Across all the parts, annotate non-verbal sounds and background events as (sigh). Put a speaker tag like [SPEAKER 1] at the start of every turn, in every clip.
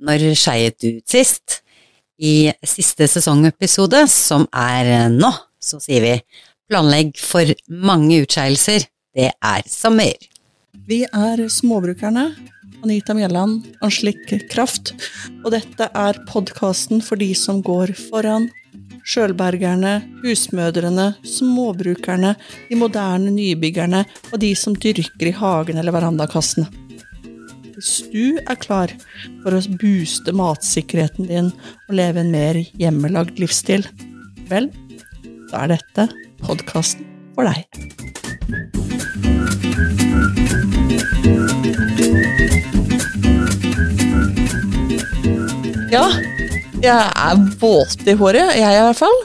[SPEAKER 1] Når skeiet du ut sist? I siste sesongepisode, som er nå, så sier vi planlegg for mange utskeielser. Det er sommer.
[SPEAKER 2] Vi er Småbrukerne, Anita Mjelland, Anslik Kraft, og dette er podkasten for de som går foran. Sjølbergerne, husmødrene, småbrukerne, de moderne nybyggerne og de som dyrker i hagen eller verandakassene. Hvis du er klar for å booste matsikkerheten din og leve en mer hjemmelagd livsstil, vel, da er dette podkasten for deg. Ja, jeg er våt i håret, jeg i hvert fall.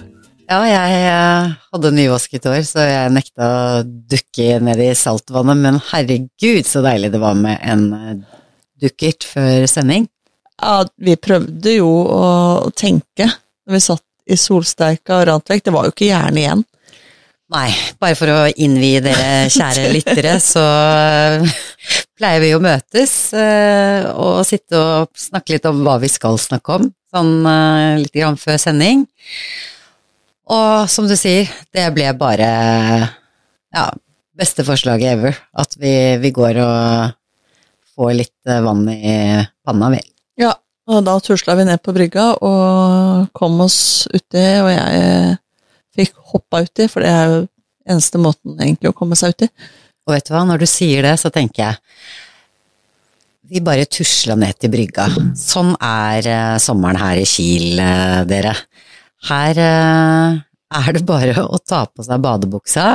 [SPEAKER 1] Ja, jeg eh, hadde nyvasket hår, så jeg nekta å dukke ned i saltvannet, men herregud så deilig det var med en eh, dukkert før sending.
[SPEAKER 2] Ja, vi prøvde jo å tenke når vi satt i solsteika og rant vekk. Det var jo ikke hjernen igjen.
[SPEAKER 1] Nei, bare for å innvie dere kjære lyttere, så eh, pleier vi å møtes eh, og sitte og snakke litt om hva vi skal snakke om, sånn eh, litt grann før sending. Og som du sier, det ble bare ja, beste forslaget ever. At vi, vi går og får litt eh, vann i panna, vi.
[SPEAKER 2] Ja, og da tusla vi ned på brygga og kom oss uti, og jeg eh, fikk hoppa uti, for det er jo eneste måten egentlig å komme seg uti.
[SPEAKER 1] Og vet du hva, når du sier det, så tenker jeg vi bare tusla ned til brygga. Sånn er eh, sommeren her i Kiel, eh, dere. Her eh, er det bare å ta på seg badebuksa,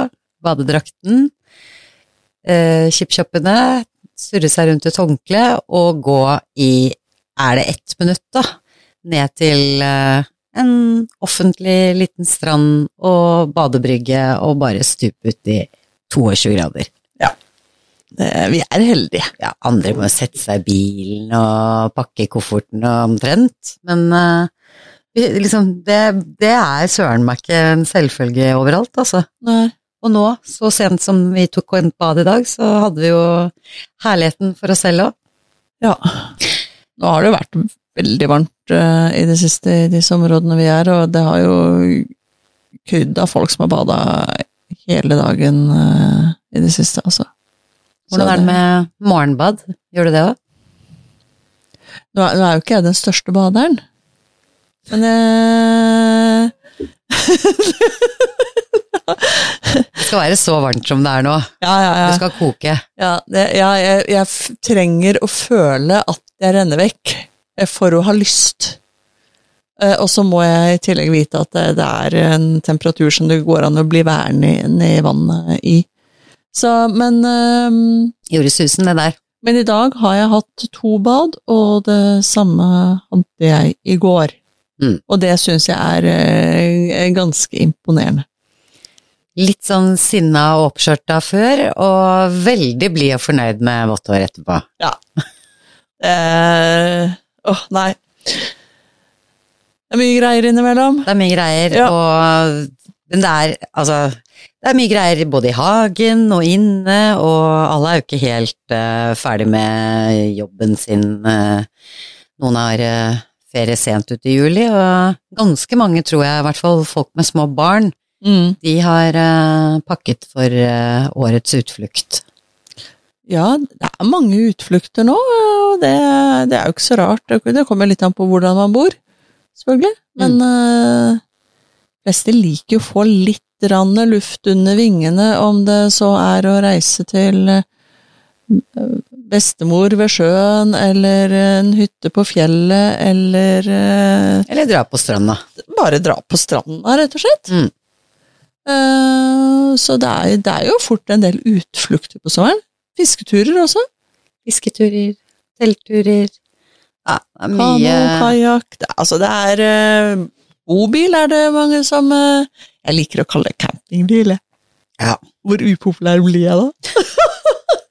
[SPEAKER 1] badedrakten, eh, chipchoppene, surre seg rundt et håndkle og gå i, er det ett minutt da, ned til eh, en offentlig liten strand og badebrygge og bare stupe uti 22 grader.
[SPEAKER 2] Det, vi er heldige.
[SPEAKER 1] Ja, andre må sette seg i bilen og pakke kofferten og omtrent, men eh, vi- liksom, det, det er søren meg ikke en selvfølge overalt, altså.
[SPEAKER 2] Nei.
[SPEAKER 1] Og nå, så sent som vi tok en bad i dag, så hadde vi jo herligheten for oss selv òg.
[SPEAKER 2] Ja. Nå har det jo vært veldig varmt eh, i det siste i disse områdene vi er, og det har jo krydda folk som har bada hele dagen eh, i det siste, altså. Så
[SPEAKER 1] Hvordan er det med morgenbad? Gjør du det òg?
[SPEAKER 2] Nå er, nå er jo ikke jeg den største baderen, men eh,
[SPEAKER 1] Det skal være så varmt som det er nå.
[SPEAKER 2] ja, ja, ja.
[SPEAKER 1] Du skal koke.
[SPEAKER 2] ja, det, ja jeg, jeg f- trenger å føle at jeg renner vekk eh, for å ha lyst. Eh, Og så må jeg i tillegg vite at det, det er en temperatur som det går an å bli værende i- ned i vannet i. Så, men eh,
[SPEAKER 1] Gjorde susen, det der.
[SPEAKER 2] Men i dag har jeg hatt to bad, og det samme hadde jeg i går.
[SPEAKER 1] Mm.
[SPEAKER 2] Og det syns jeg er eh, ganske imponerende.
[SPEAKER 1] Litt sånn sinna og oppskjørta før, og veldig blid og fornøyd med vått hår etterpå.
[SPEAKER 2] Eh, Åh, nei. Det er mye greier innimellom.
[SPEAKER 1] Det er mye greier,
[SPEAKER 2] Ja.
[SPEAKER 1] og men det er altså det er mye greier både i hagen og inne, og alle er jo ikke helt eh, ferdig med jobben sin. eh. noen har eh, ferie sent ut i juli, og ganske mange, tror jeg, i hvert fall folk med små barn,
[SPEAKER 2] Mm.
[SPEAKER 1] de har eh, pakket for eh, årets utflukt.
[SPEAKER 2] Ja, det er mange utflukter nå, og det, det er jo ikke så rart. Det- Det kommer litt an på hvordan man bor, selvfølgelig. Men eh, fleste liker jo å få litt grann luft under vingene, om det så er å reise til eh, bestemor ved sjøen, eller en hytte på fjellet, eller eh,
[SPEAKER 1] Eller dra på stranda.
[SPEAKER 2] bare dra på stranda, rett og slett.
[SPEAKER 1] Mm.
[SPEAKER 2] Eh, så det er, det er jo fort en del utflukter på sommeren. Fisketurer også.
[SPEAKER 1] Fisketurer, teltturer. Ja, det er
[SPEAKER 2] Kano,
[SPEAKER 1] mye
[SPEAKER 2] kajakk det- Altså, det er eh, Bobil er det mange som eh, Jeg liker å kalle det campingbil. jeg.
[SPEAKER 1] Ja.
[SPEAKER 2] Hvor upopulær blir jeg da?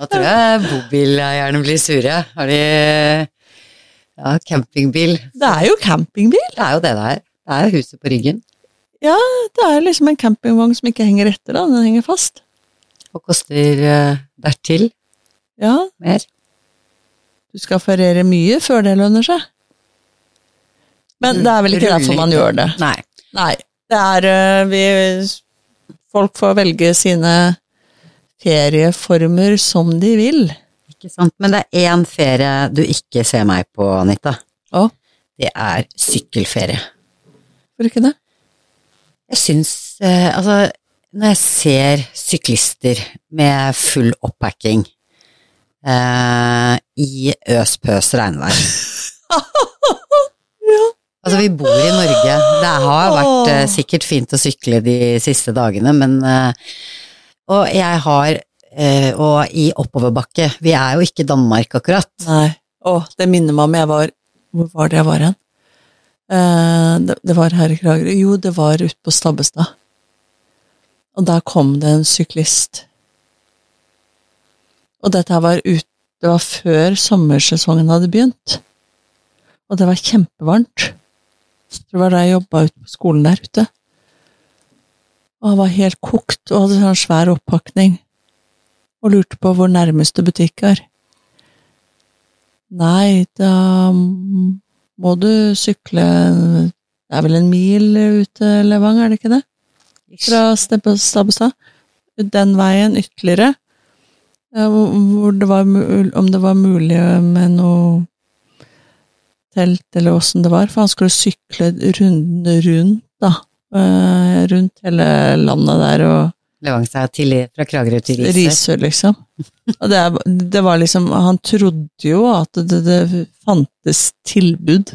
[SPEAKER 1] Da tror jeg bobileierne blir sure. Har de ja, campingbil?
[SPEAKER 2] Det er jo campingbil.
[SPEAKER 1] Det er jo det det er. Det er huset på ryggen.
[SPEAKER 2] Det er liksom en campingvogn som ikke henger etter, da. Den henger fast.
[SPEAKER 1] Og koster eh, dertil
[SPEAKER 2] Ja,
[SPEAKER 1] mer.
[SPEAKER 2] Du skal ferere mye før det lønner seg. Men det er vel ikke
[SPEAKER 1] Mm. Ruller
[SPEAKER 2] derfor man gjør det.
[SPEAKER 1] Nei.
[SPEAKER 2] Nei. Det er eh, vi Folk får velge sine ferieformer som de vil.
[SPEAKER 1] Ikke sant? Men det er én ferie du ikke ser meg på, Anita.
[SPEAKER 2] Å,
[SPEAKER 1] Det er sykkelferie.
[SPEAKER 2] hvorfor ikke det?
[SPEAKER 1] Jeg syns eh, Altså, når jeg ser syklister med full oppacking eh, i øs-pøs regnvær Altså, vi bor i Norge. Det har vært eh, sikkert fint å sykle de siste dagene, men eh, Og jeg har eh, Og i oppoverbakke. Vi er jo ikke Danmark, akkurat.
[SPEAKER 2] Nei. Å, det minner meg om jeg var Hvor var det jeg var hen? Eh, det, det var her i Kragerø. Jo, det var ute på Stabbestad. Og der kom det en syklist. Og dette her var ut, det var før sommersesongen hadde begynt. Og det var kjempevarmt. Det var da jeg jobba ute på skolen der ute. Og han var helt kokt og hadde sånn svær oppakning. Og lurte på hvor nærmeste butikk er. Nei, da må du sykle Det er vel en mil ut til Levang, er det ikke det? Fra Stabbe- Stabbestad. Den veien ytterligere. eh, Hvor hvor det var, mul- om det var mulig eh, med noe telt, eller åssen det var. For han skulle sykle runden rundt, da. eh, Rundt hele landet der og
[SPEAKER 1] Levang seg til, fra Kragerø til Risør.
[SPEAKER 2] Risør, liksom. Og det, er- det var liksom Han trodde jo at det, det fantes tilbud.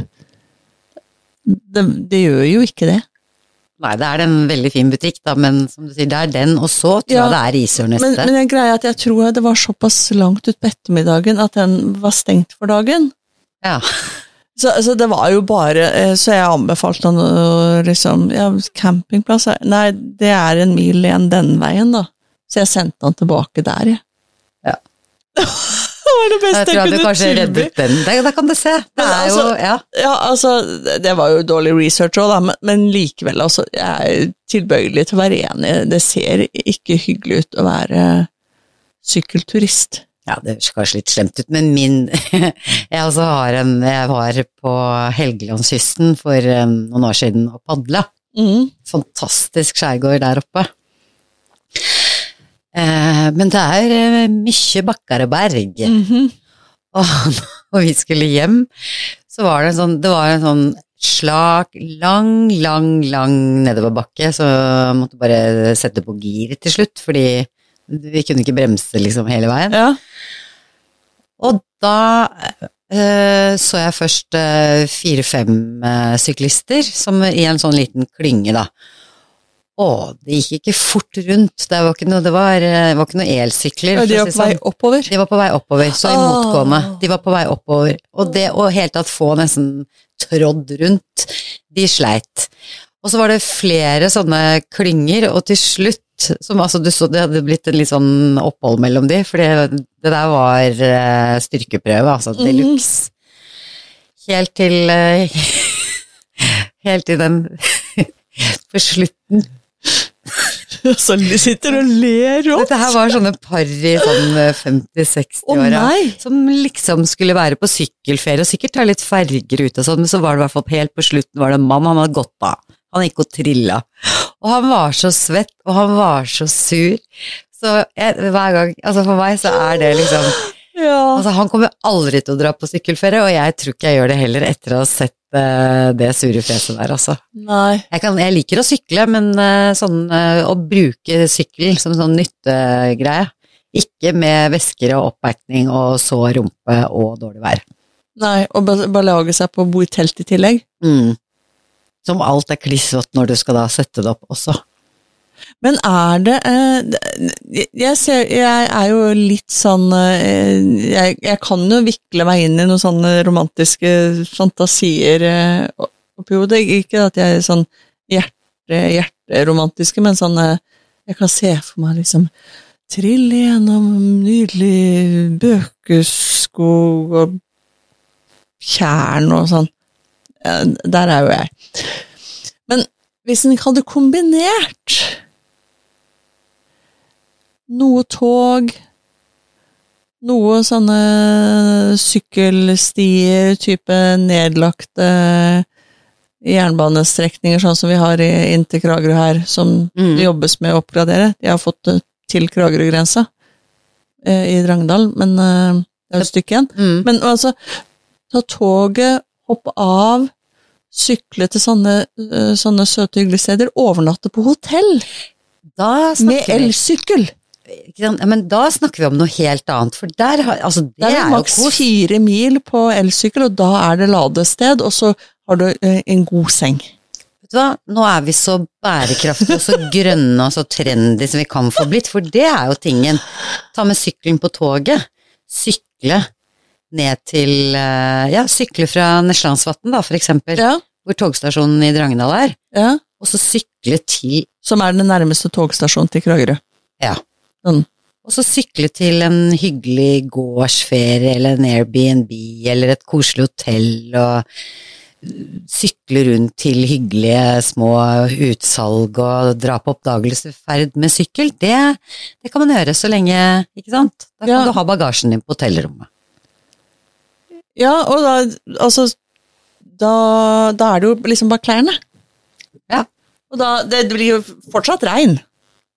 [SPEAKER 2] Det, det gjør jo ikke det.
[SPEAKER 1] Nei, det er en veldig fin butikk, da, men som du sier, det er den, og så tror
[SPEAKER 2] Ja,
[SPEAKER 1] jeg det er Risør neste.
[SPEAKER 2] Men, men jeg greier at jeg tror det var såpass langt utpå ettermiddagen at den var stengt for dagen.
[SPEAKER 1] ja.
[SPEAKER 2] Så, så det var jo bare eh, Så jeg anbefalte han å liksom ja, Campingplass er- Nei, det er en mil igjen den veien, da. Så jeg sendte han tilbake der, jeg.
[SPEAKER 1] Ja.
[SPEAKER 2] (laughs) det var det
[SPEAKER 1] Jeg
[SPEAKER 2] beste
[SPEAKER 1] tror
[SPEAKER 2] jeg,
[SPEAKER 1] jeg du
[SPEAKER 2] kunne
[SPEAKER 1] kanskje
[SPEAKER 2] tilby.
[SPEAKER 1] reddet den. Da, da kan du se. Det
[SPEAKER 2] Men
[SPEAKER 1] er jo,
[SPEAKER 2] altså-
[SPEAKER 1] ja.
[SPEAKER 2] Ja, altså, det- det var jo dårlig research òg, da, men, men likevel, altså, jeg er tilbøyelig til å være enig. Det ser ikke hyggelig ut å være sykkelturist.
[SPEAKER 1] ja, det høres kanskje litt slemt ut, men min (laughs) Jeg altså har en Jeg var på Helgelandskysten for eh, noen år siden og padla. Mm-hmm.
[SPEAKER 2] Mm.
[SPEAKER 1] Fantastisk skjærgård der oppe. Eh, men det er eh, mye bakker og berg.
[SPEAKER 2] Mhm.
[SPEAKER 1] Og (laughs) når vi skulle hjem, så var det en sånn, det var en sånn slak, lang, lang, lang nedoverbakke, så jeg måtte bare sette på gir til slutt, fordi vi kunne ikke bremse liksom hele veien.
[SPEAKER 2] Ja.
[SPEAKER 1] Og da eh, så jeg først eh, fire-fem eh, syklister som i en sånn liten klynge, da. Å, det gikk ikke fort rundt. Det var ikke noe, det var, eh, var ikke noe elsykler.
[SPEAKER 2] Og de
[SPEAKER 1] for å
[SPEAKER 2] er
[SPEAKER 1] si
[SPEAKER 2] på
[SPEAKER 1] sånn.
[SPEAKER 2] vei oppover. (laughs)
[SPEAKER 1] De var på vei oppover, så
[SPEAKER 2] Åh.
[SPEAKER 1] imotgående. De var på vei oppover. Og det å helt tatt få nesten trådd rundt, de sleit. Og så var det flere sånne klynger, og til slutt som altså, du så Det hadde blitt en litt sånn opphold mellom de, for det, det der var eh, styrkeprøve, altså
[SPEAKER 2] Mhm.
[SPEAKER 1] de luxe. Helt til eh, (laughs) Helt til den (laughs) På slutten.
[SPEAKER 2] Så de sitter og ler òg.
[SPEAKER 1] Dette her var sånne par i sånn eh, 50-60-åra.
[SPEAKER 2] Å nei!
[SPEAKER 1] som liksom skulle være på sykkelferie og sikkert ta litt ferger ut og sånn, men så var det i hvert fall helt på slutten var det en mann han hadde gått av. Han gikk og trilla. Og han var så svett, og han var så sur. Så jeg, hver gang Altså for meg så er det liksom
[SPEAKER 2] Ja.
[SPEAKER 1] Altså han kommer aldri til å dra på sykkelferie, og jeg tror ikke jeg gjør det heller etter å ha sett eh, det sure fjeset der, altså.
[SPEAKER 2] Nei.
[SPEAKER 1] Jeg, kan, jeg liker å sykle, men eh, sånn eh, å bruke sykkel som sånn nyttegreie. Ikke med væsker og oppbacking og så rumpe og dårlig vær.
[SPEAKER 2] Nei. Og bare bare lage seg på å bo i telt i tillegg.
[SPEAKER 1] Mm. Som alt er klissvått når du skal da sette det opp også.
[SPEAKER 2] Men er det eh, det- jeg, ser, jeg er jo litt sånn eh, jeg, jeg kan jo vikle meg inn i noen sånne romantiske fantasier eh, oppi hodet. Ikke at jeg er sånn hjerte, hjerteromantiske, men sånn eh, Jeg kan se for meg liksom trille gjennom nydelig bøkeskog og tjern og sånn. Eh, Der er jo jeg. Men hvis en ikke hadde kombinert noe tog, Noe sånne sykkelstier, type nedlagte jernbanestrekninger, sånn som vi har i- inn til Kragerø her, som
[SPEAKER 1] Mm.
[SPEAKER 2] det jobbes med å oppgradere. De har fått det til Kragerø-grensa eh, i Drangedal, men eh, det er jo et stykke igjen.
[SPEAKER 1] Mm.
[SPEAKER 2] Men altså, ta toget, hoppe av, sykle til sånne, eh, sånne søte, hyggelige steder, overnatte på hotell
[SPEAKER 1] Da
[SPEAKER 2] med
[SPEAKER 1] snakker vi
[SPEAKER 2] elsykkel.
[SPEAKER 1] ikke sant? Ja, Men da snakker vi om noe helt annet, for der har Altså, det,
[SPEAKER 2] Det er,
[SPEAKER 1] er jo
[SPEAKER 2] maks
[SPEAKER 1] kos.
[SPEAKER 2] fire mil på elsykkel, og da er det ladested, og så har du eh, en god seng.
[SPEAKER 1] Vet du hva, nå er vi så bærekraftige og så grønne og så trendy som vi kan få blitt, for det er jo tingen. Ta med sykkelen på toget. Sykle ned til eh, Ja, sykle fra Neslandsvatn, da, for eksempel,
[SPEAKER 2] Ja,
[SPEAKER 1] hvor togstasjonen i Drangedal er,
[SPEAKER 2] ja.
[SPEAKER 1] og så sykle til
[SPEAKER 2] Som er den nærmeste togstasjonen til Kragerø.
[SPEAKER 1] Ja.
[SPEAKER 2] Sånn.
[SPEAKER 1] Og så sykle til en hyggelig gårdsferie eller en Airbnb eller et koselig hotell og sykle rundt til hyggelige små utsalg og dra på oppdagelsesferd med sykkel, det, det kan man gjøre så lenge, ikke sant? Da kan
[SPEAKER 2] Ja.
[SPEAKER 1] du ha bagasjen din på hotellrommet.
[SPEAKER 2] Ja, og da, altså, da, da er det jo liksom bare klærne.
[SPEAKER 1] Ja.
[SPEAKER 2] Og da, det blir jo fortsatt regn.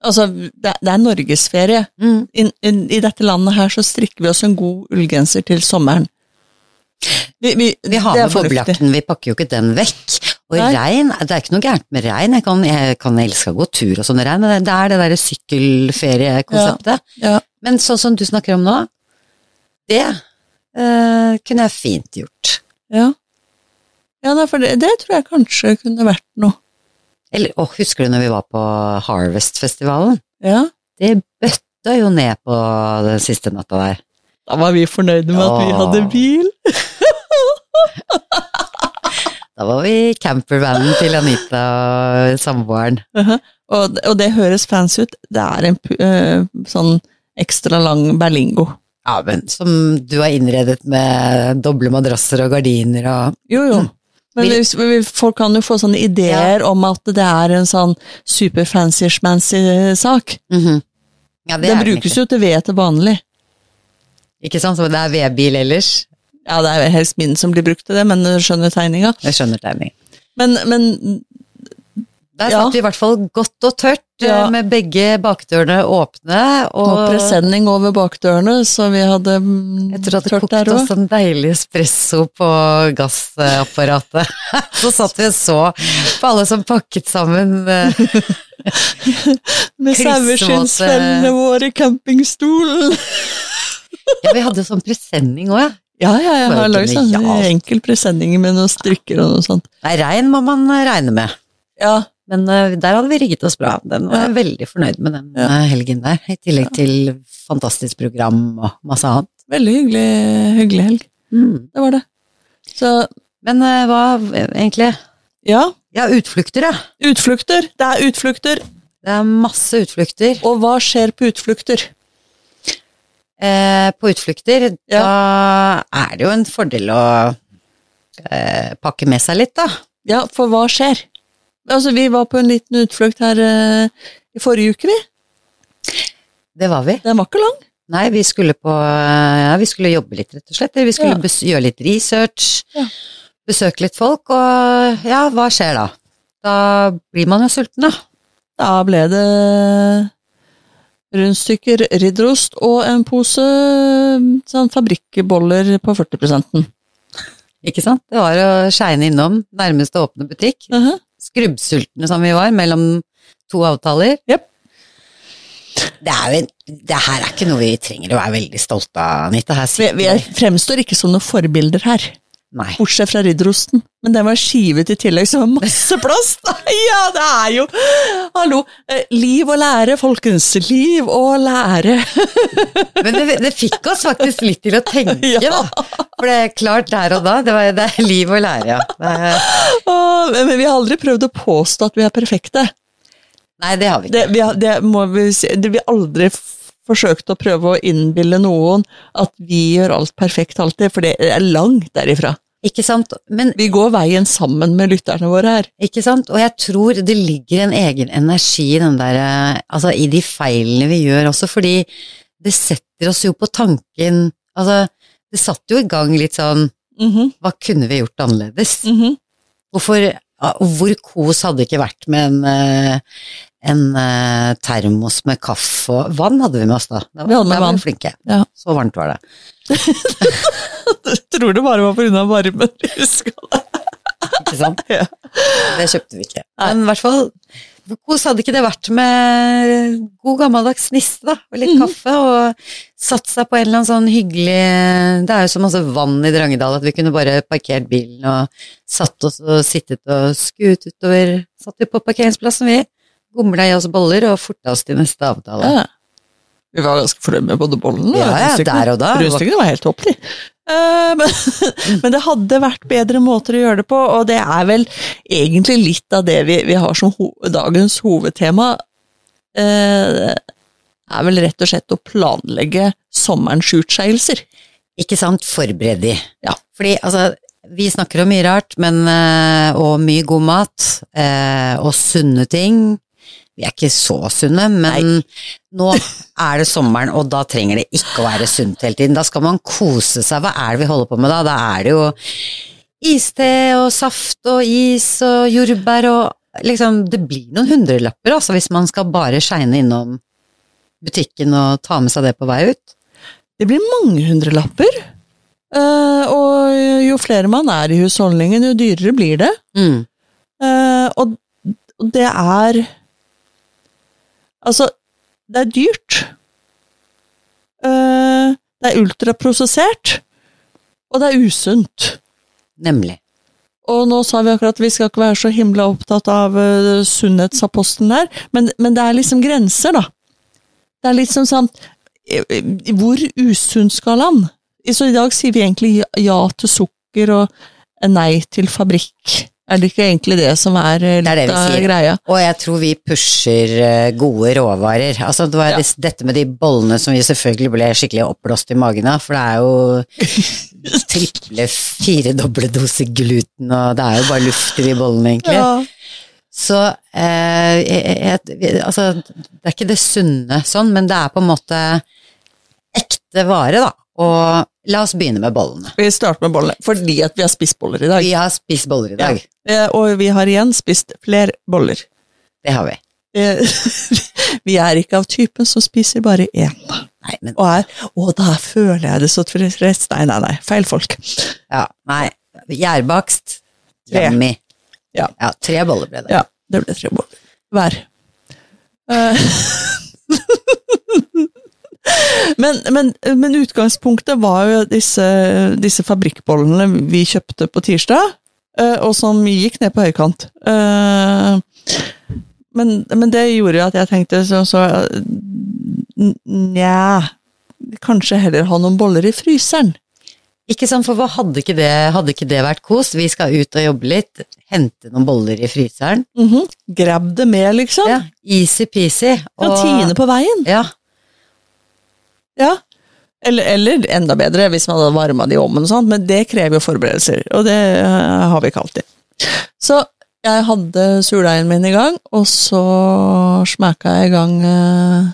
[SPEAKER 2] Altså, det, det er norgesferie.
[SPEAKER 1] Mm.
[SPEAKER 2] I, i, I dette landet her så strikker vi oss en god ullgenser til sommeren. Vi,
[SPEAKER 1] Vi har
[SPEAKER 2] det er
[SPEAKER 1] med boblejakten, vi pakker jo ikke den vekk. Og
[SPEAKER 2] Nei.
[SPEAKER 1] regn, det er ikke noe gærent med regn, jeg kan, jeg kan elske å gå tur og sånn i regn, men det er det derre sykkelferiekonseptet.
[SPEAKER 2] Ja.
[SPEAKER 1] Men sånn som du snakker om nå, det eh, kunne jeg fint gjort.
[SPEAKER 2] Ja, ja nei, for det, det tror jeg kanskje kunne vært noe.
[SPEAKER 1] Eller, å, husker du når vi var på Harvest-festivalen?
[SPEAKER 2] Ja.
[SPEAKER 1] Det bøtta jo ned på den siste natta der.
[SPEAKER 2] Da var vi fornøyde med at vi
[SPEAKER 1] Ja.
[SPEAKER 2] hadde bil.
[SPEAKER 1] Da var vi i campervanen til Anita og samboeren.
[SPEAKER 2] Og, og det høres fancy ut. Det er en pu- eh, sånn ekstra lang berlingo.
[SPEAKER 1] Ja, men som du har innredet med doble madrasser og gardiner og
[SPEAKER 2] Jo, jo. Mm. Men
[SPEAKER 1] Vil-
[SPEAKER 2] hvis, vi- folk kan jo få sånne ideer om at det er en sånn superfancy-schmancy eh, sak.
[SPEAKER 1] Mhm. Ja, det
[SPEAKER 2] Den
[SPEAKER 1] er den
[SPEAKER 2] brukes
[SPEAKER 1] ikke.
[SPEAKER 2] jo til ved til vanlig.
[SPEAKER 1] Ikke sant, så det er vedbil ellers.
[SPEAKER 2] Ja, det er jo helst min som blir brukt til det, men du skjønner tegninga.
[SPEAKER 1] Jeg skjønner tegningen.
[SPEAKER 2] Men, men
[SPEAKER 1] Der
[SPEAKER 2] Ja.
[SPEAKER 1] satt vi i hvert fall godt og tørt,
[SPEAKER 2] Ja.
[SPEAKER 1] eh, med begge bakdørene åpne. Og,
[SPEAKER 2] og presenning over bakdørene, så vi hadde mm,
[SPEAKER 1] Etter at det
[SPEAKER 2] tørt
[SPEAKER 1] kokte
[SPEAKER 2] der
[SPEAKER 1] oss
[SPEAKER 2] også.
[SPEAKER 1] en deilig espresso på gassapparatet, (laughs) så satt vi og så på alle som pakket sammen eh,
[SPEAKER 2] Med
[SPEAKER 1] Krisemåte.
[SPEAKER 2] saueskinnsfellene våre, campingstolen.
[SPEAKER 1] Ja, vi hadde jo sånn presenning òg, ja.
[SPEAKER 2] Ja, ja, jeg
[SPEAKER 1] Bare
[SPEAKER 2] har lagd sånn
[SPEAKER 1] genialt.
[SPEAKER 2] enkel presenning med noen strikker og noe sånt.
[SPEAKER 1] Nei, regn må man eh, regne med.
[SPEAKER 2] Ja,
[SPEAKER 1] Men eh, der hadde vi rigget oss bra. Den var jeg veldig fornøyd med den
[SPEAKER 2] Ja.
[SPEAKER 1] eh, helgen der. I tillegg til fantastisk program og masse annet.
[SPEAKER 2] veldig hyggelig, hyggelig helg. Det var det. Så
[SPEAKER 1] Men eh, hva eh, egentlig?
[SPEAKER 2] ja,
[SPEAKER 1] Ja, utflukter, ja.
[SPEAKER 2] utflukter. Det er utflukter.
[SPEAKER 1] Det er masse utflukter.
[SPEAKER 2] Og hva skjer på utflukter?
[SPEAKER 1] eh, på utflukter, da er det jo en fordel å eh, pakke med seg litt, da.
[SPEAKER 2] Ja, for hva skjer? Altså, vi var på en liten utflukt her eh, i forrige uke, vi.
[SPEAKER 1] Det var vi.
[SPEAKER 2] Den var ikke lang.
[SPEAKER 1] Nei, vi skulle på eh, Ja, vi skulle jobbe litt, rett og slett. Vi skulle
[SPEAKER 2] Ja.
[SPEAKER 1] bes gjøre litt research,
[SPEAKER 2] Ja.
[SPEAKER 1] besøke litt folk, og ja, hva skjer da? Da blir man jo sulten, da.
[SPEAKER 2] Da ble det rundstykker, ridderost og en pose sånn fabrikkboller på 40
[SPEAKER 1] Ikke sant? Det var å skeine innom nærmeste åpne butikk.
[SPEAKER 2] Mhm.
[SPEAKER 1] Skrubbsultne som vi var, mellom to avtaler.
[SPEAKER 2] Jep.
[SPEAKER 1] Det, er jo, en- det her er ikke noe vi trenger å være veldig stolte av, Anita. Her
[SPEAKER 2] vi,
[SPEAKER 1] sitter
[SPEAKER 2] vi er, fremstår ikke som noen forbilder her,
[SPEAKER 1] Nei.
[SPEAKER 2] bortsett fra ridderosten. Men den var skivet i tillegg, så det var masse plass! (laughs) ja, det er jo Hallo! eh, Liv og lære, folkens. Liv og lære. (laughs)
[SPEAKER 1] Men det, det fikk oss faktisk litt til å tenke,
[SPEAKER 2] Ja.
[SPEAKER 1] da. For det er klart der og da. Det, var, det er liv og lære, ja. Det er,
[SPEAKER 2] Åh, men vi har aldri prøvd å påstå at vi er perfekte.
[SPEAKER 1] nei, det har vi ikke.
[SPEAKER 2] Det, vi, har- det må vi si. Det, vi har aldri f- forsøkt å prøve å innbille noen at vi gjør alt perfekt alltid, for det er langt derifra.
[SPEAKER 1] Ikke sant? Men,
[SPEAKER 2] Vi går veien sammen med lytterne våre her.
[SPEAKER 1] ikke sant? Og jeg tror det ligger en egen energi i den der eh, Altså i de feilene vi gjør også, fordi det setter oss jo på tanken Altså, det satte jo i gang litt sånn
[SPEAKER 2] Mhm,
[SPEAKER 1] Hva kunne vi gjort annerledes?
[SPEAKER 2] mhm.
[SPEAKER 1] Hvorfor ja, og Hvor kos hadde det ikke vært med en, eh, en eh, termos med kaffe og Vann hadde vi med oss, da. Det var,
[SPEAKER 2] Vi hadde med
[SPEAKER 1] der var
[SPEAKER 2] vann.
[SPEAKER 1] vi flinke.
[SPEAKER 2] Ja.
[SPEAKER 1] Så varmt var det.
[SPEAKER 2] Jeg tror det bare var pga. varmen. (laughs) Husker jeg det.
[SPEAKER 1] Ikke sant?
[SPEAKER 2] (laughs) Ja.
[SPEAKER 1] Det kjøpte vi ikke. Men i hvert fall, hvor kos hadde ikke det vært med god gammeldags niste, da? Og litt
[SPEAKER 2] Mhm.
[SPEAKER 1] kaffe, og satt seg på en eller annen sånn hyggelig Det er jo så masse vann i Drangedal at vi kunne bare parkert bilen og satt oss og sittet og skuet utover. Satt vi på parkeringsplassen, vi. Gomla i oss boller og forta oss til neste avtale.
[SPEAKER 2] Ja. Vi var ganske fornøyd med både bollen og
[SPEAKER 1] Ja, ja,
[SPEAKER 2] rundstykkene.
[SPEAKER 1] der og da.
[SPEAKER 2] Rundstykkene var helt topp, de. Eh, men, men (laughs) det hadde vært bedre måter å gjøre det på, og det er vel egentlig litt av det vi, vi har som ho dagens hovedtema. Eh, er vel rett og slett å planlegge sommerens utskeielser.
[SPEAKER 1] Ikke sant, forbered de.
[SPEAKER 2] Ja.
[SPEAKER 1] Fordi altså, vi snakker om mye rart, men, eh, og mye god mat, eh, og sunne ting. Vi er ikke så sunne, men nå er det sommeren, og da trenger det ikke å være sunt hele tiden. Da skal man kose seg. Hva er det vi holder på med da? Da er det jo iste og saft og is og jordbær og liksom Det blir noen hundrelapper, altså, hvis man skal bare skeine innom butikken og ta med seg det på vei ut.
[SPEAKER 2] Det blir mange hundrelapper. Eh, og jo flere man er i husholdningen, jo dyrere blir det.
[SPEAKER 1] Mm.
[SPEAKER 2] Eh, og og det er Altså, det er dyrt. Eh, det er ultraprosessert. Og det er usunt.
[SPEAKER 1] Nemlig.
[SPEAKER 2] Og nå sa vi akkurat at vi skal ikke være så himla opptatt av eh, sunnhetsaposten her, men, men det er liksom grenser, da. Det er liksom sånn eh, eh, Hvor usunn skal han? Så i dag sier vi egentlig ja- ja til sukker og nei til fabrikk. Er det ikke egentlig det som er eh,
[SPEAKER 1] Det er det
[SPEAKER 2] litt
[SPEAKER 1] vi
[SPEAKER 2] av
[SPEAKER 1] sier.
[SPEAKER 2] greia?
[SPEAKER 1] Og jeg tror vi pusher eh, gode råvarer. Altså, det var
[SPEAKER 2] Ja.
[SPEAKER 1] dis- dette med de bollene som vi selvfølgelig ble skikkelig oppblåst i magen av, for det er jo triple, firedoble doser gluten, og det er jo bare luft i de bollene, egentlig.
[SPEAKER 2] Ja.
[SPEAKER 1] Så eh, jeg, jeg, vi- altså, det er ikke det sunne sånn, men det er på en måte ekte vare, da. Og la oss begynne med bollene.
[SPEAKER 2] Vi starter med bollene, fordi at vi har spist boller i dag.
[SPEAKER 1] Vi har spist boller i dag.
[SPEAKER 2] Eh, Og vi har igjen spist flere boller.
[SPEAKER 1] Det har vi.
[SPEAKER 2] Eh, (laughs) Vi er ikke av typen som spiser bare én.
[SPEAKER 1] Nei, men
[SPEAKER 2] Og er Å, da føler jeg det så tilfreds. Nei, nei, nei. Feil folk.
[SPEAKER 1] Ja, nei. Gjærbakst.
[SPEAKER 2] Tre.
[SPEAKER 1] Yummy.
[SPEAKER 2] Ja.
[SPEAKER 1] tre boller ble det.
[SPEAKER 2] Ja, det ble tre boller. Hver. Eh, (laughs) Men, men, men utgangspunktet var jo disse, disse fabrikkbollene vi kjøpte på tirsdag, eh, og som gikk ned på høykant. Eh, Men, men det gjorde jo at jeg tenkte så, så n- Nja Kanskje heller ha noen boller i fryseren.
[SPEAKER 1] Ikke sant, for hva hadde ikke det, hadde ikke det vært kos? Vi skal ut og jobbe litt, hente noen boller i fryseren.
[SPEAKER 2] Mhm. Grab det med, liksom.
[SPEAKER 1] Ja, Easy-peasy.
[SPEAKER 2] Kan tine på veien.
[SPEAKER 1] Ja,
[SPEAKER 2] Ja. Eller, eller enda bedre hvis man hadde varma det i ovnen, og sånt, men det krever jo forberedelser, og det eh, har vi ikke alltid. Så jeg hadde surdeigen min i gang, og så smæka jeg i gang eh,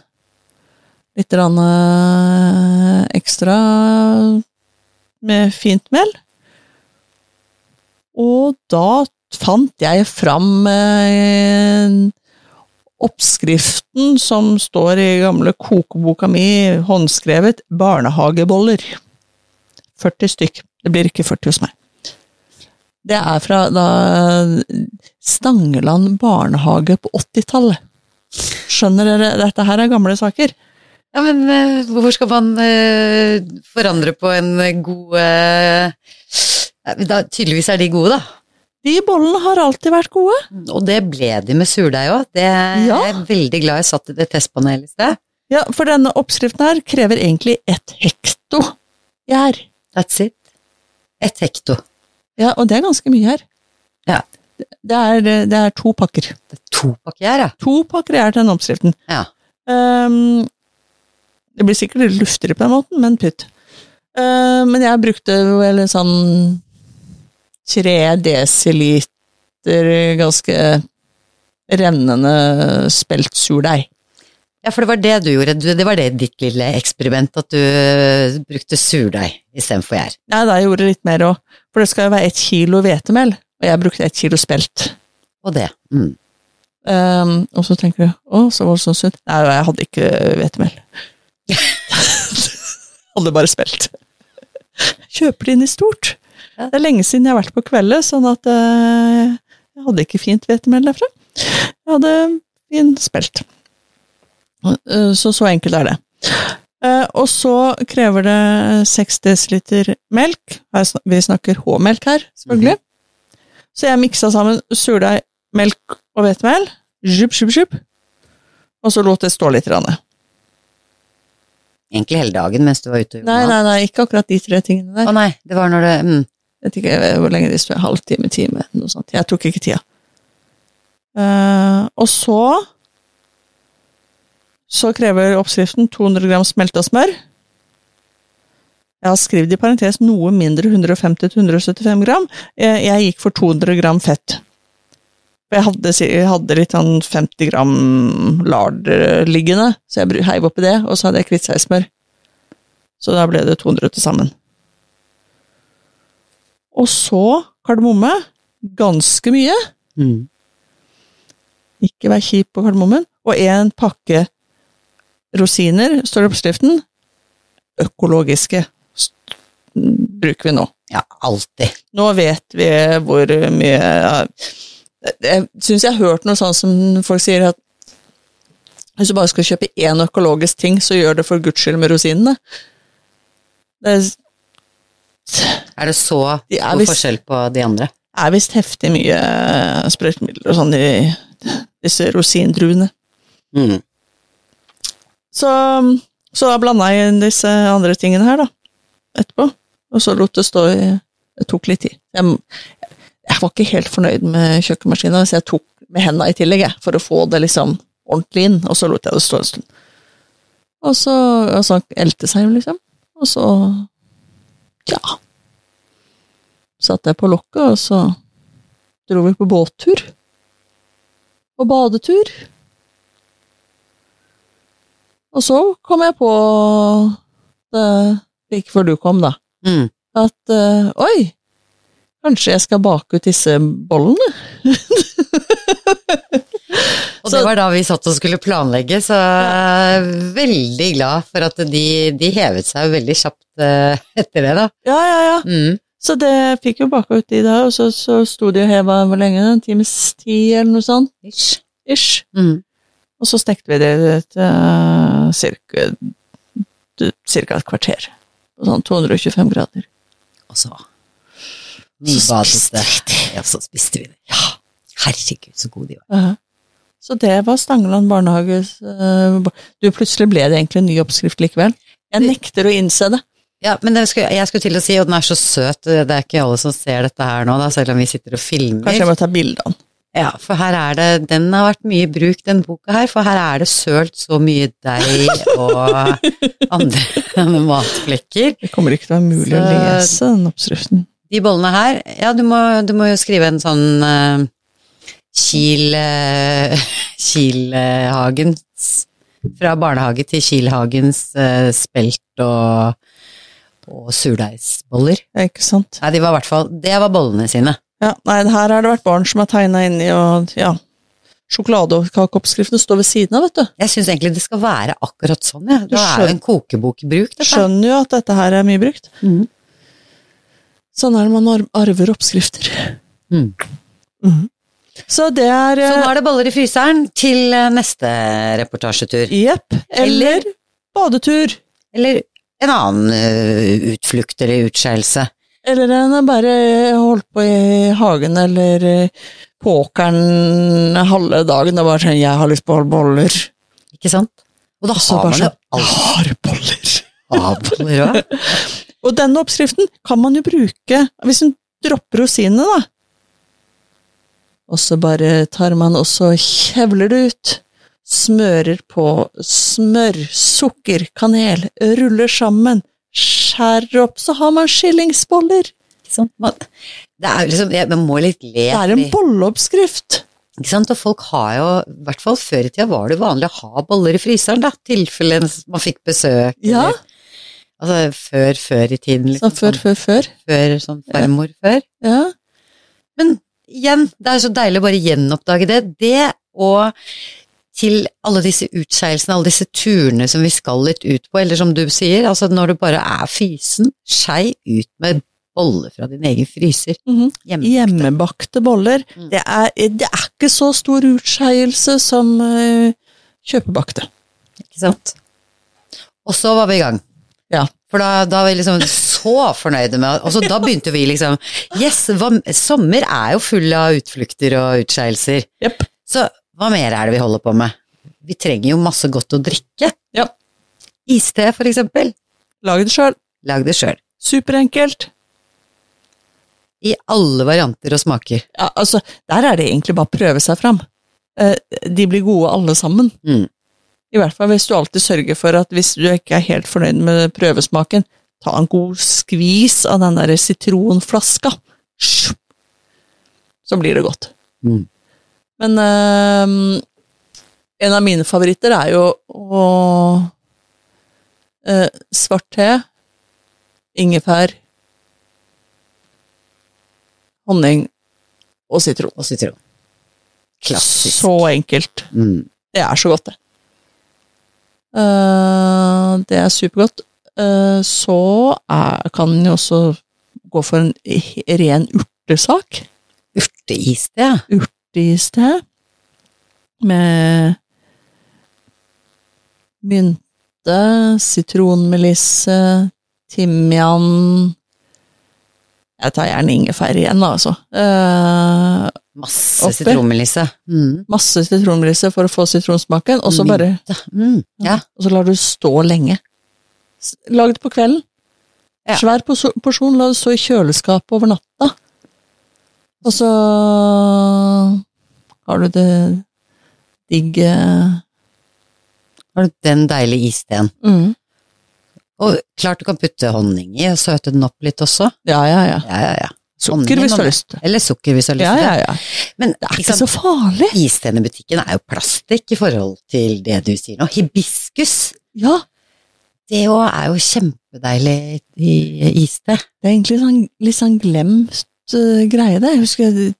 [SPEAKER 2] litt grann, eh, ekstra med fint mel. Og da fant jeg fram eh, oppskriften som står i gamle kokeboka mi, håndskrevet, barnehageboller. 40 stykk. Det blir ikke 40 hos meg. Det er fra da Stangeland barnehage på 80-tallet. Skjønner dere, dette her er gamle saker.
[SPEAKER 1] ja men eh, hvorfor skal man eh, forandre på en eh, god eh, eh, da, Tydeligvis er de gode, da.
[SPEAKER 2] De bollene har alltid vært gode.
[SPEAKER 1] Og det ble de med surdeig òg. Det er
[SPEAKER 2] Ja.
[SPEAKER 1] jeg veldig glad jeg satt i det testpanelet i sted.
[SPEAKER 2] Ja, for denne oppskriften her krever egentlig ett hekto gjær.
[SPEAKER 1] That's it. Et hekto.
[SPEAKER 2] Ja, og det er ganske mye her.
[SPEAKER 1] Ja.
[SPEAKER 2] Det er, det er to pakker.
[SPEAKER 1] Det er to pakker her, ja.
[SPEAKER 2] To pakker gjær til den oppskriften.
[SPEAKER 1] ja.
[SPEAKER 2] Ehm, det blir sikkert litt luftigere på den måten, men pytt. Ehm, men jeg brukte vel en sånn tre desiliter ganske rennende spelt surdeig.
[SPEAKER 1] Ja, for det var det du gjorde. Du, det var det ditt lille eksperiment, at du eh, brukte surdeig istedenfor gjær.
[SPEAKER 2] Nei, da jeg gjorde litt mer òg. For det skal jo være ett kilo hvetemel, og jeg brukte ett kilo spelt.
[SPEAKER 1] Og det. Mm.
[SPEAKER 2] Ehm, og så tenker du å, så var det så sunt. Nei, jeg hadde ikke hvetemel. hadde bare spelt. Kjøper det inn i stort.
[SPEAKER 1] Ja.
[SPEAKER 2] Det er lenge siden jeg har vært på kveldet, sånn at eh, jeg hadde ikke fint hvetemel derfra. Jeg hadde fin spelt. Eh, så så enkelt er det. Eh, og så krever det 6 dl melk. Her, sn- vi snakker H-melk her, selvfølgelig. Så jeg miksa sammen surdeig, melk og hvetemel. Zjup, zjup, zjup. Og så lot det stå litt. Rande.
[SPEAKER 1] Egentlig hele dagen mens du var ute og gjorde
[SPEAKER 2] Nei,
[SPEAKER 1] noe
[SPEAKER 2] nei, nei, ikke akkurat de tre tingene der.
[SPEAKER 1] annet. Å nei, det var når det mm.
[SPEAKER 2] Jeg vet ikke hvor lenge de står, halvtime, time, noe sånt. Jeg tok ikke tida. Eh, og så så krever oppskriften 200 gram smelta smør. Jeg har skrevet i parentes noe mindre 150-175 gram. Eh, Jeg gikk for 200 gram fett. For Jeg hadde, si- jeg hadde litt sånn 50 gram lard eh, liggende, så jeg bru- heiv oppi det, og så hadde jeg kvittseismør. Så da ble det 200 til sammen. Og så kardemomme. Ganske mye.
[SPEAKER 1] Mm.
[SPEAKER 2] Ikke vær kjip på kardemommen. Og en pakke rosiner, står det i oppskriften. Økologiske s- bruker vi nå.
[SPEAKER 1] Ja, alltid.
[SPEAKER 2] Nå vet vi hvor mye ja, Jeg syns jeg har hørt noe sånt som folk sier at hvis du bare skal kjøpe én økologisk ting, så gjør det for guds skyld med rosinene. Det
[SPEAKER 1] Er det så
[SPEAKER 2] De er
[SPEAKER 1] stor
[SPEAKER 2] visst-
[SPEAKER 1] forskjell på de andre?
[SPEAKER 2] er visst heftig mye sprøytemidler og sånn i disse rosindruene.
[SPEAKER 1] Mm.
[SPEAKER 2] Så, um, så da blanda jeg inn disse andre tingene her, da. Etterpå. Og så lot det stå i Det tok litt tid. Jeg, jeg var ikke helt fornøyd med kjøkkenmaskina, så jeg tok med henda i tillegg, jeg, for å få det liksom ordentlig inn. Og så lot jeg det stå en stund. Og så, og så elte seg, liksom. Og så Tja. Satte jeg på lokket, og så dro vi på båttur. Og badetur. Og så kom jeg på eh, like før du kom, da,
[SPEAKER 1] Mm.
[SPEAKER 2] at eh, oi, kanskje jeg skal bake ut disse bollene?
[SPEAKER 1] Og
[SPEAKER 2] Så-
[SPEAKER 1] det var da vi satt og skulle planlegge, så jeg er veldig glad for at de, de hevet seg jo veldig kjapt eh, etter det, da.
[SPEAKER 2] Ja, ja, ja.
[SPEAKER 1] Mm.
[SPEAKER 2] Så det jeg fikk jo baka ut de da, og så, så sto de og heva hvor lenge? En times tid, eller noe sånt?
[SPEAKER 1] Ish.
[SPEAKER 2] Ish.
[SPEAKER 1] Mm.
[SPEAKER 2] Og så stekte vi det til eh, cirka, cirka et kvarter. På Sånn 225 grader.
[SPEAKER 1] Og så
[SPEAKER 2] Så
[SPEAKER 1] nybadet
[SPEAKER 2] spiste
[SPEAKER 1] det. Ja, så spiste vi det. Ja. Herregud, så gode de var.
[SPEAKER 2] Ja. Så det var Stangeland barnehages eh, bar- Du, plutselig ble det egentlig en ny oppskrift likevel. Jeg nekter å innse det.
[SPEAKER 1] Ja, men det skulle, jeg skulle til å si, og den er så søt, det er ikke alle som ser dette her nå, da, selv om vi sitter og filmer.
[SPEAKER 2] Kanskje jeg må ta bilde av den.
[SPEAKER 1] Ja, for her er det, den har vært mye i bruk, den boka her, for her er det sølt så mye deig og andre (laughs) matflekker.
[SPEAKER 2] Det kommer ikke til å være mulig å
[SPEAKER 1] Så-
[SPEAKER 2] lese den oppskriften.
[SPEAKER 1] De bollene her, ja, du må, du må jo skrive en sånn eh, Kiel eh, (laughs) Kielhagens Fra barnehage til Kielhagens eh, spelt og, og surdeigsboller.
[SPEAKER 2] Ja, ikke sant?
[SPEAKER 1] Nei, de var i hvert fall Det var bollene sine.
[SPEAKER 2] Ja, nei, her har det vært barn som har tegna inni, og ja. Sjokoladekakeoppskriften står ved siden av, vet du.
[SPEAKER 1] Jeg syns egentlig det skal være akkurat sånn, ja.
[SPEAKER 2] Du
[SPEAKER 1] Det er jo en kokebok i bruk, dette.
[SPEAKER 2] Skjønner jo at dette her er mye brukt.
[SPEAKER 1] Mhm.
[SPEAKER 2] Sånn er det man ar- arver oppskrifter.
[SPEAKER 1] Mhm.
[SPEAKER 2] Mhm. Mm. Så det er
[SPEAKER 1] Så
[SPEAKER 2] eh,
[SPEAKER 1] nå er det boller i fryseren til eh, neste reportasjetur.
[SPEAKER 2] Jepp. Eller badetur.
[SPEAKER 1] Eller en annen eh, utflukt eller utskeielse.
[SPEAKER 2] Eller en har bare eh, holdt på i hagen eller eh, på åkeren halve dagen. Det er bare sånn 'jeg har lyst på boller'.
[SPEAKER 1] Ikke sant? Og da
[SPEAKER 2] Så
[SPEAKER 1] har man
[SPEAKER 2] bare
[SPEAKER 1] jo
[SPEAKER 2] sånn, jeg har boller.
[SPEAKER 1] alt av boller òg.
[SPEAKER 2] Og denne oppskriften kan man jo bruke hvis en dropper rosinene, da. Og så bare tar man og så kjevler det ut. Smører på smør, sukker, kanel, ruller sammen, skjærer opp, så har man skillingsboller.
[SPEAKER 1] Det er jo liksom, jeg, Man må litt le.
[SPEAKER 2] Det er en
[SPEAKER 1] fordi-
[SPEAKER 2] bolleoppskrift.
[SPEAKER 1] Ikke sant? Og folk har jo, i hvert fall før i tida var det vanlig å ha boller i fryseren, da, tilfelle man fikk besøk.
[SPEAKER 2] Ja.
[SPEAKER 1] eller- Altså før, før i tiden, liksom.
[SPEAKER 2] Sånn før, før, før.
[SPEAKER 1] sånn før, sånn farmor før.
[SPEAKER 2] Ja.
[SPEAKER 1] Igjen, det er så deilig å bare gjenoppdage det. Det og til alle disse utskeielsene, alle disse turene som vi skal litt ut på, eller som du sier, altså når du bare er fysen, skei ut med bolle fra din egen fryser.
[SPEAKER 2] Mhm.
[SPEAKER 1] Hjemme.
[SPEAKER 2] Hjemmebakte boller.
[SPEAKER 1] Mm.
[SPEAKER 2] Det, er, det er ikke så stor utskeielse som eh, kjøpebakte.
[SPEAKER 1] Ikke sant? Og så var vi i gang.
[SPEAKER 2] Ja.
[SPEAKER 1] For da, da var vi liksom så fornøyde med Og så da begynte vi liksom Yes, hva, sommer er jo full av utflukter og utskeielser.
[SPEAKER 2] Jepp.
[SPEAKER 1] Så hva mer er det vi holder på med? Vi trenger jo masse godt å drikke.
[SPEAKER 2] Ja.
[SPEAKER 1] Iste, for eksempel.
[SPEAKER 2] Lag det sjøl.
[SPEAKER 1] Lag det sjøl.
[SPEAKER 2] Superenkelt.
[SPEAKER 1] I alle varianter og smaker.
[SPEAKER 2] Ja, altså, der er det egentlig bare å prøve seg fram. Eh, de blir gode alle sammen.
[SPEAKER 1] Mm.
[SPEAKER 2] I hvert fall hvis du alltid sørger for at hvis du ikke er helt fornøyd med prøvesmaken, ta en god skvis av den der sitronflaska. Sjup. Så blir det godt.
[SPEAKER 1] Mm.
[SPEAKER 2] Men eh, en av mine favoritter er jo å eh, Svart te, ingefær, honning og sitron.
[SPEAKER 1] Og sitron. Klassisk.
[SPEAKER 2] Så enkelt.
[SPEAKER 1] Mm.
[SPEAKER 2] Det er så godt, det. Eh, det er supergodt. Eh, så er, kan en jo også gå for en he- ren urtesak
[SPEAKER 1] Urteiste, ja.
[SPEAKER 2] i sted. Med mynte, sitronmelisse, timian Jeg tar gjerne ingefær igjen, da, altså. Eh,
[SPEAKER 1] Masse
[SPEAKER 2] Oppi.
[SPEAKER 1] sitronmelisse. Mm.
[SPEAKER 2] masse sitronmelisse for å få sitronsmaken, og så
[SPEAKER 1] Mynte.
[SPEAKER 2] bare
[SPEAKER 1] Mm. Ja.
[SPEAKER 2] Og så lar du det stå lenge. S- Lag det på kvelden.
[SPEAKER 1] Ja.
[SPEAKER 2] Svær poso- porsjon, la det stå i kjøleskapet over natta. Og så har du det digg eh,
[SPEAKER 1] Har du den deilige isteen?
[SPEAKER 2] mm.
[SPEAKER 1] Og klart du kan putte honning i og søte den opp litt også.
[SPEAKER 2] Ja, ja, ja.
[SPEAKER 1] Ja, ja, ja.
[SPEAKER 2] Sukker hvis du har lyst.
[SPEAKER 1] Eller sukker hvis du har lyst
[SPEAKER 2] Ja,
[SPEAKER 1] til
[SPEAKER 2] ja,
[SPEAKER 1] det.
[SPEAKER 2] ja.
[SPEAKER 1] Men
[SPEAKER 2] Det er
[SPEAKER 1] ikke
[SPEAKER 2] ikke så
[SPEAKER 1] sant,
[SPEAKER 2] farlig.
[SPEAKER 1] isten i butikken er jo plastikk i forhold til det du sier nå. Hibiskus,
[SPEAKER 2] Ja,
[SPEAKER 1] det jo er jo kjempedeilig i iste.
[SPEAKER 2] det er egentlig sånn, litt sånn glemt eh, greie, det. Jeg husker jeg,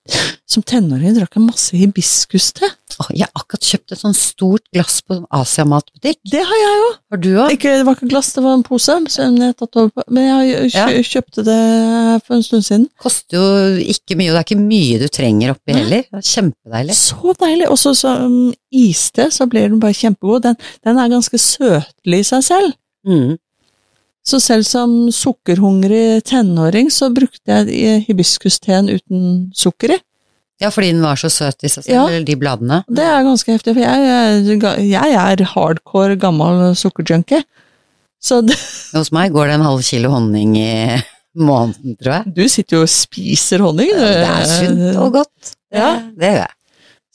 [SPEAKER 2] som tenåring drakk jeg masse hibiskuste.
[SPEAKER 1] Åh, jeg har akkurat kjøpt et sånn stort glass på en asiamatbutikk.
[SPEAKER 2] Det har jeg jo.
[SPEAKER 1] Har du òg?
[SPEAKER 2] Ikke, det var ikke glass, det var en pose. Som jeg tatt over på. Men jeg kjø, kjøpte det for en stund siden.
[SPEAKER 1] Koster jo ikke mye, og det er ikke mye du trenger oppi
[SPEAKER 2] Nei.
[SPEAKER 1] heller. Det er kjempedeilig.
[SPEAKER 2] Så deilig! Og så som iste, så blir den bare kjempegod. Den, den er ganske søtlig i seg selv.
[SPEAKER 1] Mm.
[SPEAKER 2] Så selv som sukkerhungrig tenåring, så brukte jeg i- hibiskusteen uten sukker i.
[SPEAKER 1] Ja, fordi den var så søt i seg selv,
[SPEAKER 2] Ja.
[SPEAKER 1] eller de bladene.
[SPEAKER 2] Det er ganske heftig, for jeg, er- jeg er hardcore gammel sukkerjunkie. Så det,
[SPEAKER 1] Hos meg går det en halv kilo honning i måneden, tror jeg.
[SPEAKER 2] du sitter jo og spiser honning.
[SPEAKER 1] Ja, Det er sunt og godt. Det-
[SPEAKER 2] Ja.
[SPEAKER 1] Øh. Det gjør jeg.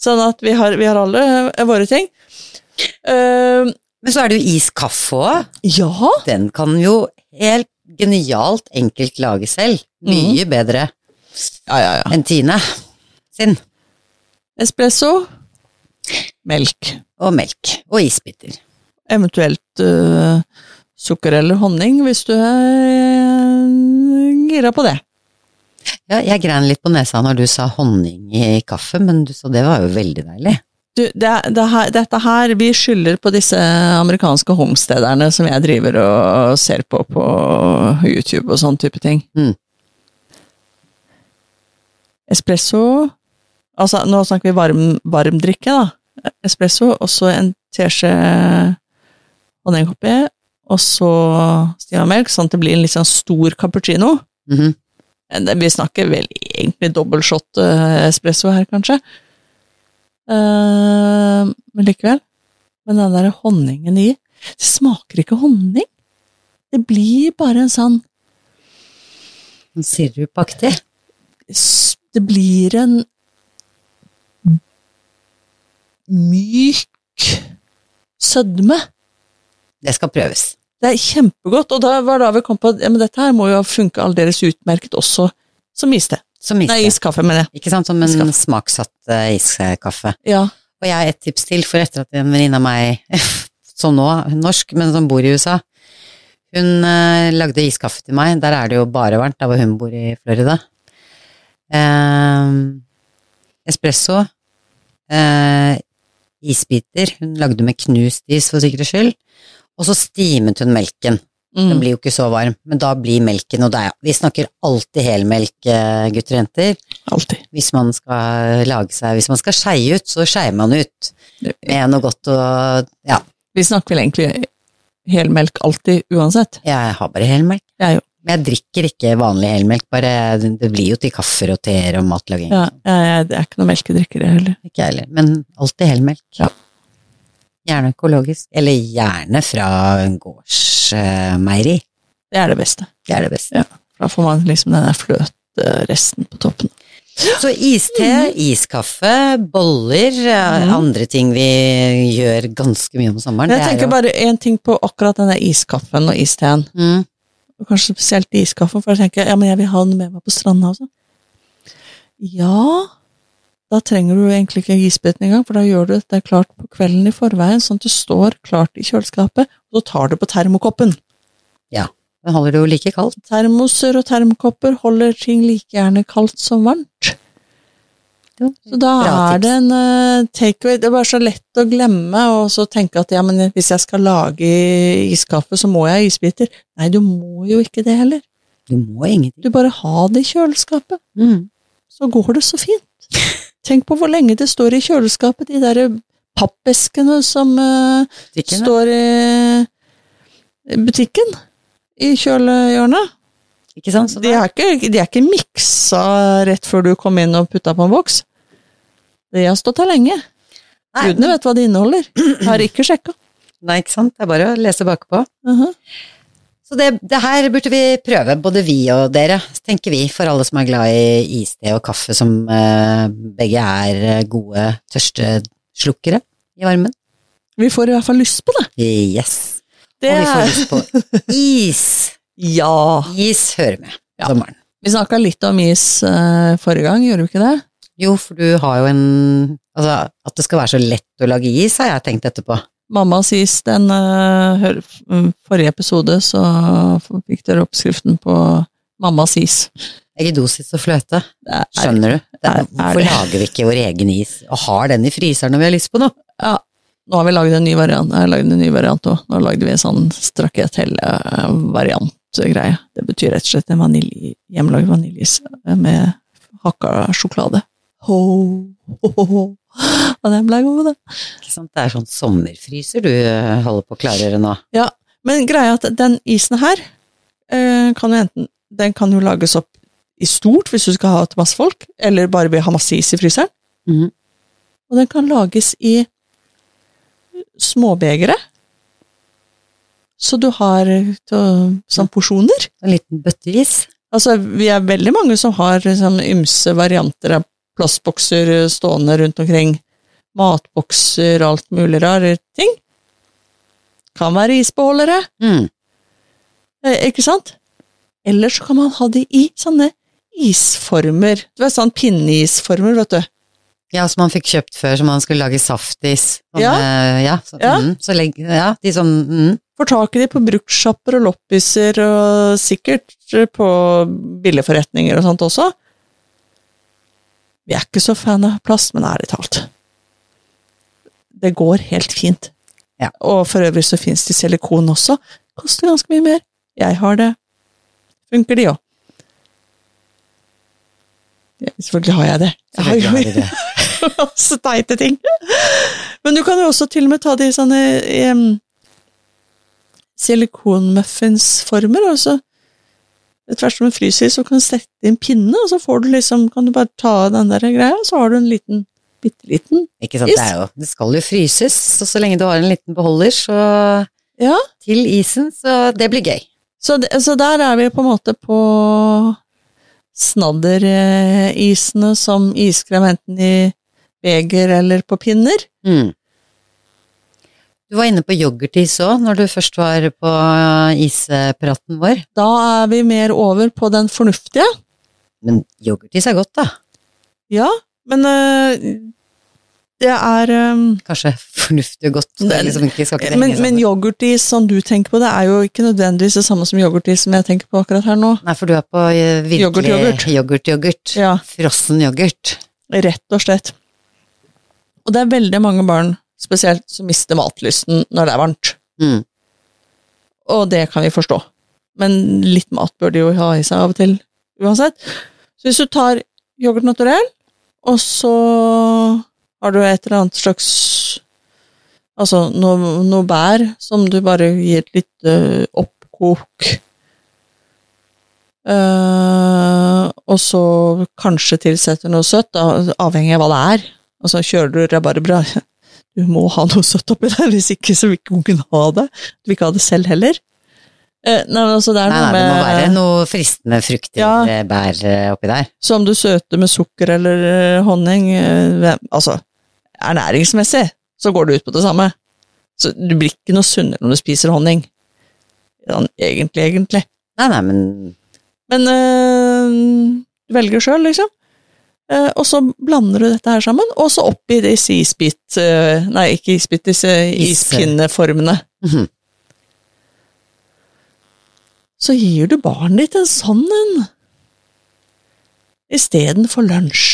[SPEAKER 2] Sånn at vi har, vi har alle eh, våre ting. Eh,
[SPEAKER 1] Men så er det jo iskaffe òg.
[SPEAKER 2] ja,
[SPEAKER 1] Den kan jo helt genialt enkelt lage selv. Mye bedre
[SPEAKER 2] ja, ja, ja.
[SPEAKER 1] enn Tine sin.
[SPEAKER 2] Espresso. Melk.
[SPEAKER 1] Og melk. Og isbiter.
[SPEAKER 2] eventuelt øh, sukker eller honning, hvis du er øh, gira på det.
[SPEAKER 1] Ja, jeg grein litt på nesa når du sa honning i kaffe, men du sa det var jo veldig deilig.
[SPEAKER 2] Du, det, er- det her, dette her, vi skylder på disse amerikanske homestederne som jeg driver og ser på på YouTube og sånn type ting.
[SPEAKER 1] Mm.
[SPEAKER 2] Espresso Altså, nå snakker vi varm, varm drikke, da. Espresso, og så en teskje honning oppi, og så stiva melk, sånn at det blir en litt sånn stor cappuccino.
[SPEAKER 1] Mhm.
[SPEAKER 2] Men det- Eh, Vi snakker vel egentlig dobbeltshot eh, espresso her, kanskje. Eh, men likevel. Men den der honningen i Det smaker ikke honning. Det blir bare en sånn
[SPEAKER 1] Sånn Sirupaktig.
[SPEAKER 2] s- Det blir en myk sødme.
[SPEAKER 1] Det skal prøves.
[SPEAKER 2] Det er kjempegodt, og da var da vi kom på at ja, men dette her må jo ha funka aldeles utmerket også som iste.
[SPEAKER 1] Som iskaffe.
[SPEAKER 2] Nei, iskaffe, mener jeg.
[SPEAKER 1] Ikke sant, som en
[SPEAKER 2] Iskaffe.
[SPEAKER 1] smaksatt eh, iskaffe.
[SPEAKER 2] Ja.
[SPEAKER 1] Og jeg har et tips til, for etter at en venninne av meg, (laughs) som nå, hun er norsk, men som bor i USA, hun eh, lagde iskaffe til meg. Der er det jo bare varmt, der hvor hun bor i Florida. Eh, espresso. Eh, isbiter. Hun lagde med knust is, for sikkerhets skyld. Og så stimet hun melken. Den
[SPEAKER 2] Mm.
[SPEAKER 1] blir jo ikke så varm, men da blir melken, og det er, vi snakker alltid helmelk, eh, gutter og jenter.
[SPEAKER 2] Alltid.
[SPEAKER 1] Hvis man skal lage seg, hvis man skal skeie ut, så skeier man ut med noe godt og Ja,
[SPEAKER 2] Vi snakker vel egentlig helmelk alltid, uansett.
[SPEAKER 1] jeg har bare helmelk.
[SPEAKER 2] Jeg òg.
[SPEAKER 1] Men jeg drikker ikke vanlig helmelk, bare det blir jo til kaffer og teer og matlaging.
[SPEAKER 2] Ja, jeg, jeg, det er ikke noe melkedrikker, jeg heller.
[SPEAKER 1] Ikke jeg heller, men alltid helmelk.
[SPEAKER 2] Ja.
[SPEAKER 1] Gjerne økologisk, eller gjerne fra en gårdsmeieri.
[SPEAKER 2] Det er det beste.
[SPEAKER 1] Det er det beste.
[SPEAKER 2] Da får man liksom den der fløteresten på toppen.
[SPEAKER 1] Så iste, iskaffe, boller, eh,
[SPEAKER 2] Mhm.
[SPEAKER 1] andre ting vi gjør ganske mye om sommeren.
[SPEAKER 2] Men jeg
[SPEAKER 1] det er
[SPEAKER 2] tenker
[SPEAKER 1] jo-
[SPEAKER 2] bare én ting på akkurat denne iskaffen og isteen.
[SPEAKER 1] Mm.
[SPEAKER 2] Og Kanskje spesielt iskaffen, for jeg tenker ja, men jeg vil ha den med meg på stranda også. Ja, da trenger du egentlig ikke isbiten engang, for da gjør du dette klart på kvelden i forveien, sånn at du står klart i kjøleskapet, og så tar du på termokoppen.
[SPEAKER 1] Den holder det jo like kaldt.
[SPEAKER 2] Termoser og termokopper holder ting like gjerne kaldt som varmt. Så da
[SPEAKER 1] Bra
[SPEAKER 2] er
[SPEAKER 1] tips.
[SPEAKER 2] det en eh, takeaway. Det er bare så lett å glemme og så tenke at ja, men hvis jeg skal lage iskaffe, så må jeg ha isbiter. Nei, du må jo ikke det heller.
[SPEAKER 1] Du må ingenting.
[SPEAKER 2] Du bare ha det i kjøleskapet,
[SPEAKER 1] Mm.
[SPEAKER 2] så går det så
[SPEAKER 1] (laughs)
[SPEAKER 2] fint. Tenk på hvor lenge det står i kjøleskapet, de derre pappeskene som eh,
[SPEAKER 1] Stikkene.
[SPEAKER 2] står i butikken i kjølehjørnet.
[SPEAKER 1] Ikke sant? Så
[SPEAKER 2] De
[SPEAKER 1] da-
[SPEAKER 2] er ikke, de er ikke miksa rett før du kom inn og putta på en boks. Det har stått her lenge.
[SPEAKER 1] Nei,
[SPEAKER 2] Gudene vet hva det inneholder. Jeg har ikke sjekka.
[SPEAKER 1] nei, ikke sant? Det er bare å lese bakpå.
[SPEAKER 2] Mhm.
[SPEAKER 1] Så det, det her burde vi prøve, både vi og dere, tenker vi, for alle som er glad i iste og kaffe, som eh, begge er eh, gode tørsteslukere i varmen.
[SPEAKER 2] Vi får i hvert fall lyst på det.
[SPEAKER 1] Yes.
[SPEAKER 2] det
[SPEAKER 1] Og vi får
[SPEAKER 2] er-
[SPEAKER 1] lyst på is.
[SPEAKER 2] Ja.
[SPEAKER 1] Is hører med
[SPEAKER 2] Ja.
[SPEAKER 1] sommeren.
[SPEAKER 2] Vi snakka litt om is eh, forrige gang, gjorde vi ikke det?
[SPEAKER 1] Jo, for du har jo en Altså, at det skal være så lett å lage is, har jeg tenkt etterpå.
[SPEAKER 2] Mammas is, den eh, hør, mm, forrige episode, så fikk dere oppskriften på mammas is.
[SPEAKER 1] Eggedosis og fløte,
[SPEAKER 2] Det er,
[SPEAKER 1] skjønner du? Det,
[SPEAKER 2] er- er
[SPEAKER 1] hvorfor
[SPEAKER 2] det-
[SPEAKER 1] lager vi ikke vår egen is, og har den i fryseren når vi har lyst på noe?
[SPEAKER 2] Ja, nå har vi lagd en ny variant. Jeg har lagd en ny variant òg. Nå lagde vi en sånn straketelle-variant-greie. Det betyr rett og slett en vanilje, hjemmelagd vaniljeis med hakka sjokolade. Ho, ho, ho, ho. Og den ble god, da.
[SPEAKER 1] Ikke sant? Det er sånn sommerfryser du eh, holder på å klargjøre nå.
[SPEAKER 2] Men greia er at den isen her eh, kan jo enten Den kan jo lages opp i stort hvis du skal ha til masse folk, eller bare vil ha masse is i fryseren.
[SPEAKER 1] Mhm.
[SPEAKER 2] Og den kan lages i småbegere. Så du har eh, til- sånn porsjoner.
[SPEAKER 1] En liten bøtteis.
[SPEAKER 2] Altså, vi er veldig mange som har liksom, ymse varianter av plastbokser eh, stående rundt omkring. Matbokser og alt mulig rare ting. Kan være isbeholdere.
[SPEAKER 1] Mm.
[SPEAKER 2] Eh, ikke sant? Eller så kan man ha det i sånne isformer. Du vet, sånn pinneisformer, vet du.
[SPEAKER 1] Ja, som man fikk kjøpt før, som man skulle lage saftis. Sånn,
[SPEAKER 2] Ja.
[SPEAKER 1] eh, ja, så,
[SPEAKER 2] Ja.
[SPEAKER 1] Mm, så legg, ja, de sånn mm.
[SPEAKER 2] Får tak i de på bruktsjapper og loppiser, og sikkert på billigforretninger og sånt også. Vi er ikke så fan av plast, men ærlig talt. Det går helt fint.
[SPEAKER 1] Ja.
[SPEAKER 2] Og for øvrig så finnes det i silikon også. Koster ganske mye mer. Jeg har det. Funker de òg. Ja, selvfølgelig har jeg det. Jeg har
[SPEAKER 1] selvfølgelig har
[SPEAKER 2] jo
[SPEAKER 1] de det.
[SPEAKER 2] (laughs) masse teite ting. Men du kan jo også til og med ta de sånne em, silikonmuffinsformer, altså. og så etter hvert som du fryser, så kan du sette inn pinne, og så får du liksom, kan du bare ta av den der greia, og så har du en liten, bitte liten.
[SPEAKER 1] Ikke sant?
[SPEAKER 2] Is.
[SPEAKER 1] Det, er jo, det skal jo fryses, så så lenge du har en liten beholder så
[SPEAKER 2] Ja.
[SPEAKER 1] til isen, så det blir gøy.
[SPEAKER 2] Så, det, så der er vi på en måte på snadderisene som iskrem enten i beger eller på pinner.
[SPEAKER 1] Mm. Du var inne på yoghurtis òg, når du først var på eh, ispraten vår.
[SPEAKER 2] Da er vi mer over på den fornuftige.
[SPEAKER 1] Men yoghurtis er godt, da.
[SPEAKER 2] Ja, men eh, det er eh,
[SPEAKER 1] Kanskje fornuftig og godt. Det er liksom ikke, skal ikke det
[SPEAKER 2] men,
[SPEAKER 1] henge
[SPEAKER 2] men
[SPEAKER 1] sammen.
[SPEAKER 2] yoghurtis som du tenker på, det er jo ikke nødvendigvis det samme som yoghurtis som jeg tenker på akkurat her nå.
[SPEAKER 1] Nei, for du er på eh,
[SPEAKER 2] Yoghurt,
[SPEAKER 1] virkelig
[SPEAKER 2] yoghurt.
[SPEAKER 1] yoghurt-yoghurt.
[SPEAKER 2] Ja,
[SPEAKER 1] Frossen yoghurt.
[SPEAKER 2] Rett og slett. Og det er veldig mange barn spesielt som mister matlysten når det er varmt.
[SPEAKER 1] Mm.
[SPEAKER 2] Og det kan vi forstå. Men litt mat bør de jo ha i seg av og til uansett. Så hvis du tar yoghurt naturell, og så har du et eller annet slags Altså noe, noe bær som du bare gir et lite eh, oppkok. Eh, og så kanskje tilsetter noe søtt, da, avhengig av hva det er. Altså kjører du rabarbra Du må ha noe søtt oppi der, hvis ikke så vil ikke ungen ha det. Du vil ikke ha det selv heller. Eh, nei, men altså det er
[SPEAKER 1] Nei,
[SPEAKER 2] noe
[SPEAKER 1] nei, det må
[SPEAKER 2] med-
[SPEAKER 1] være noe fristende frukter,
[SPEAKER 2] Ja.
[SPEAKER 1] eh, bær eh, oppi der.
[SPEAKER 2] Så om du søter med sukker eller eh, honning eh, hvem- Altså, ernæringsmessig så går det ut på det samme. Så du blir ikke noe sunnere om du spiser honning. Sånn, egentlig, egentlig.
[SPEAKER 1] Nei, nei, men
[SPEAKER 2] Men eh, du velger sjøl, liksom. Eh, og så blander du dette her sammen, og så oppi disse isbit... eh, nei, ikke isbit, disse
[SPEAKER 1] Is.
[SPEAKER 2] ispinneformene.
[SPEAKER 1] Mhm.
[SPEAKER 2] Så gir du barnet ditt en sånn en. Istedenfor lunsj.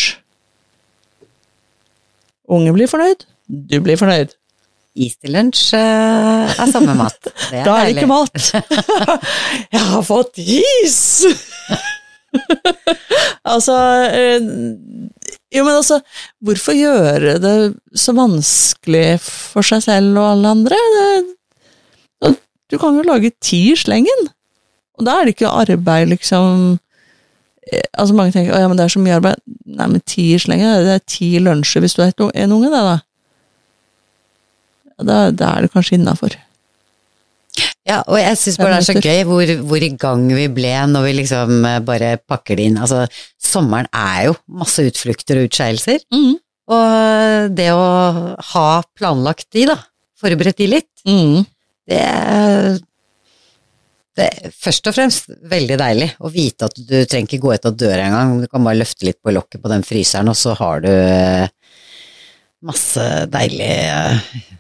[SPEAKER 2] Ungen blir fornøyd, du blir fornøyd.
[SPEAKER 1] is til lunsj eh, er samme
[SPEAKER 2] (laughs)
[SPEAKER 1] mat. Det er
[SPEAKER 2] Da er
[SPEAKER 1] deilig.
[SPEAKER 2] det ikke mat. Jeg har fått is! (laughs) altså eh, Jo, men altså Hvorfor gjøre det så vanskelig for seg selv og alle andre? Det, du kan jo lage ti i slengen. Og da er det ikke arbeid, liksom eh, Altså Mange tenker «Å ja, men det er så mye arbeid. Nei, men ti i slengen, det er ti lunsjer hvis du er et u- en unge, det, da. Ja, Da, da er det kanskje innafor.
[SPEAKER 1] Ja, og jeg syns bare det er så gøy hvor, hvor i gang vi ble når vi liksom eh, bare pakker det inn. Altså, sommeren er jo masse utflukter og utskeielser. Og eh, det å ha planlagt de, da, forberedt de litt,
[SPEAKER 2] Mm.
[SPEAKER 1] det er det er først og fremst veldig deilig å vite at du trenger ikke gå ut av døra engang. Du kan bare løfte litt på lokket på den fryseren, og så har du eh, masse deilige eh,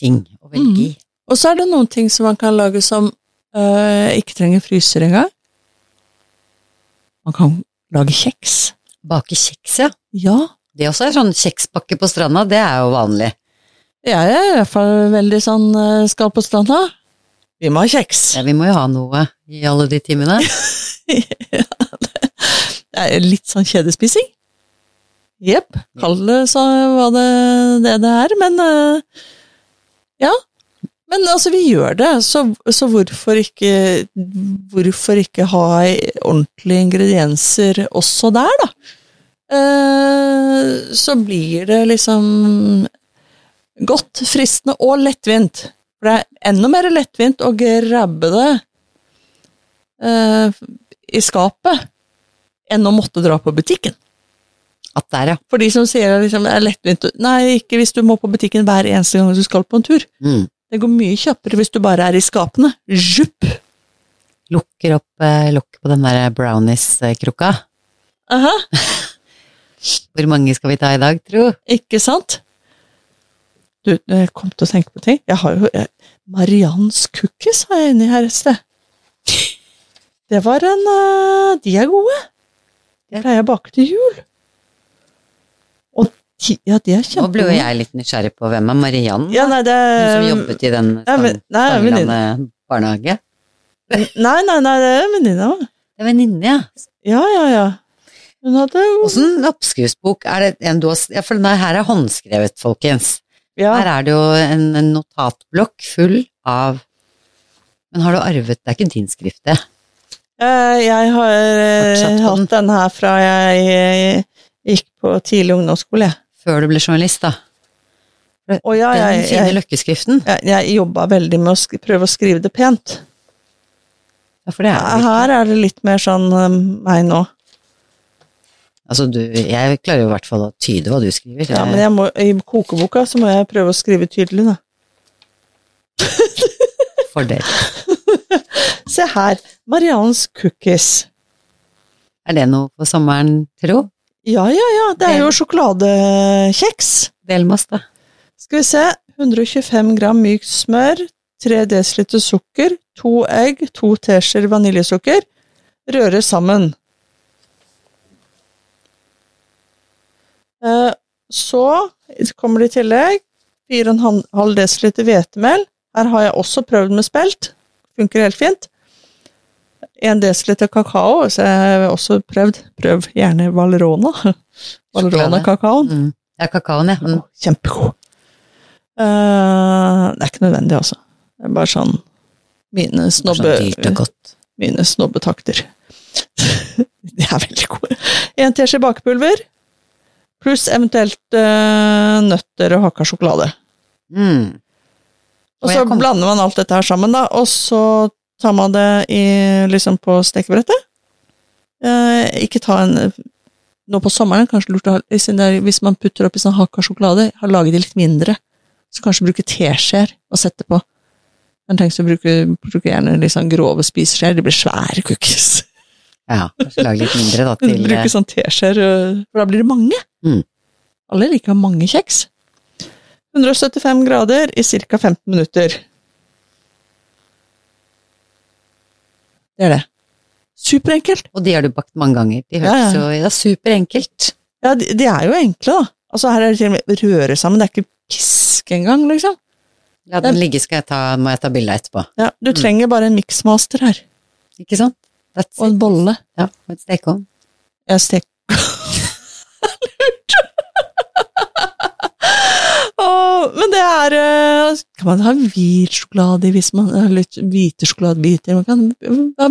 [SPEAKER 1] ting å velge i.
[SPEAKER 2] Og så er det noen ting som man kan lage som øh, ikke trenger fryser engang. Man kan lage kjeks.
[SPEAKER 1] Bake kjeks, ja.
[SPEAKER 2] Ja,
[SPEAKER 1] Det også er sånn kjekspakke på stranda, det er jo vanlig.
[SPEAKER 2] jeg er i hvert fall veldig sånn øh, skal på stranda. Vi må ha kjeks.
[SPEAKER 1] Ja, vi må jo ha noe i alle de
[SPEAKER 2] (laughs)
[SPEAKER 1] timene.
[SPEAKER 2] Det er litt sånn kjedespising. Jepp. Kall det så hva det det, det er, men øh, Ja. Men altså, vi gjør det, så, så hvorfor ikke Hvorfor ikke ha ordentlige ingredienser også der, da? Eh, så blir det liksom godt, fristende og lettvint. For det er enda mer lettvint å grabbe det eh, i skapet enn å måtte dra på butikken.
[SPEAKER 1] At der, ja.
[SPEAKER 2] For de som sier at liksom, det er lettvint å- Nei, ikke hvis du må på butikken hver eneste gang du skal på en tur.
[SPEAKER 1] Mm.
[SPEAKER 2] Det går mye kjappere hvis du bare er i skapene. Zjupp!
[SPEAKER 1] Lukker opp eh, lokket på den der brownies-krukka.
[SPEAKER 2] Aha,
[SPEAKER 1] Hvor mange skal vi ta i dag, tro?
[SPEAKER 2] ikke sant? Du, jeg kom til å tenke på ting. Jeg har jo jeg, Marians cookies har jeg inni her et sted. Det var en eh, De er gode. De pleier jeg å bake til jul. Og de, ja, de er
[SPEAKER 1] Nå ble jo
[SPEAKER 2] kjempegode.
[SPEAKER 1] jeg litt nysgjerrig på hvem er Mariann?
[SPEAKER 2] Ja, nei, det
[SPEAKER 1] Hun som jobbet i den
[SPEAKER 2] Nei, men- nei,
[SPEAKER 1] Stangelandet
[SPEAKER 2] venninne.
[SPEAKER 1] barnehage?
[SPEAKER 2] Nei, nei, nei, det er venninna mi.
[SPEAKER 1] Det er venninne, ja.
[SPEAKER 2] Ja, ja, ja. Hun hadde jo
[SPEAKER 1] Åssen oppskriftsbok er det en du har s- Ja, for nei, her er håndskrevet, folkens.
[SPEAKER 2] ja.
[SPEAKER 1] Her er det jo en, en notatblokk full av Men har du arvet Det er ikke din skrift, det.
[SPEAKER 2] Eh, Jeg har eh,
[SPEAKER 1] Fortsatt på den.
[SPEAKER 2] hatt den her fra jeg eh, gikk på tidlig ungdomsskole. jeg.
[SPEAKER 1] Før du ble journalist, da.
[SPEAKER 2] Og Ah, ja,
[SPEAKER 1] Den
[SPEAKER 2] jeg,
[SPEAKER 1] fine
[SPEAKER 2] jeg,
[SPEAKER 1] løkkeskriften.
[SPEAKER 2] jeg, jeg jobba veldig med å sk prøve å skrive det pent.
[SPEAKER 1] Ja, for det er det.
[SPEAKER 2] Her er det litt mer sånn eh, meg nå.
[SPEAKER 1] Altså, du, jeg klarer jo i hvert fall å tyde hva du skriver.
[SPEAKER 2] Ja, men jeg må, i kokeboka så må jeg prøve å skrive tydelig, da.
[SPEAKER 1] Fordel.
[SPEAKER 2] Se her. Marians cookies.
[SPEAKER 1] Er det noe på sommeren, tro?
[SPEAKER 2] Ja, ja, ja. Det er jo sjokoladekjeks.
[SPEAKER 1] Del med oss, da.
[SPEAKER 2] Skal vi se. 125 gram mykt smør, 3 dl sukker, 2 egg, 2 teskjeer vaniljesukker. Røre sammen. Eh, Så kommer det i tillegg 4,5 dl hvetemel. Her har jeg også prøvd med spelt. Funker helt fint. 1 dl kakao, så jeg har også prøvd. Prøv gjerne Valrona. (laughs) Valrona-kakaoen.
[SPEAKER 1] Mm. Ja, kakaoen, ja. Mm.
[SPEAKER 2] Kjempegod. Eh, det er ikke nødvendig, altså. Det er bare sånn mine, snobbe,
[SPEAKER 1] Sånn dyrt og godt.
[SPEAKER 2] mine snobbetakter. (laughs) de er veldig gode. En teskje bakepulver, pluss eventuelt eh, nøtter og hakka sjokolade.
[SPEAKER 1] Mm.
[SPEAKER 2] Og
[SPEAKER 1] Og
[SPEAKER 2] så
[SPEAKER 1] jeg kom-
[SPEAKER 2] blander man alt dette her sammen, da, og så tar man det i, liksom på stekebrettet. Eh, ikke ta en Nå på sommeren, kanskje lurt å ha siden det er- Hvis man putter oppi sånn hakka sjokolade, har laget de litt mindre, så kanskje bruke teskjeer og sette på. Men tenk så bruke, bruke gjerne litt sånn grove spiseskjeer, de blir svære cookies.
[SPEAKER 1] Ja, kanskje lage litt mindre
[SPEAKER 2] (laughs)
[SPEAKER 1] da til eh,
[SPEAKER 2] Bruke sånn teskjeer, øh, for da blir det mange.
[SPEAKER 1] Mm.
[SPEAKER 2] Alle liker å ha mange kjeks. 175 grader i ca. 15 minutter. Det er det. Superenkelt.
[SPEAKER 1] eh, Og de har du bakt mange ganger. De
[SPEAKER 2] Ja, ja.
[SPEAKER 1] hørtes jo ja, superenkelt.
[SPEAKER 2] Ja, de, de er jo enkle, da. Altså, her er det til og med røre sammen, det er ikke pisk engang, liksom.
[SPEAKER 1] La den ligge, skal jeg ta, må jeg ta bilde av etterpå.
[SPEAKER 2] Ja, du trenger bare en miksmaster her,
[SPEAKER 1] Ikke sant? That's
[SPEAKER 2] og en
[SPEAKER 1] it.
[SPEAKER 2] bolle.
[SPEAKER 1] Ja, og et stekeovn.
[SPEAKER 2] Jeg stek... (laughs) Lurt! Åh, men det er eh, Kan man ha hvit sjokolade i hvis man har litt hvite sjokoladebiter? Man kan ha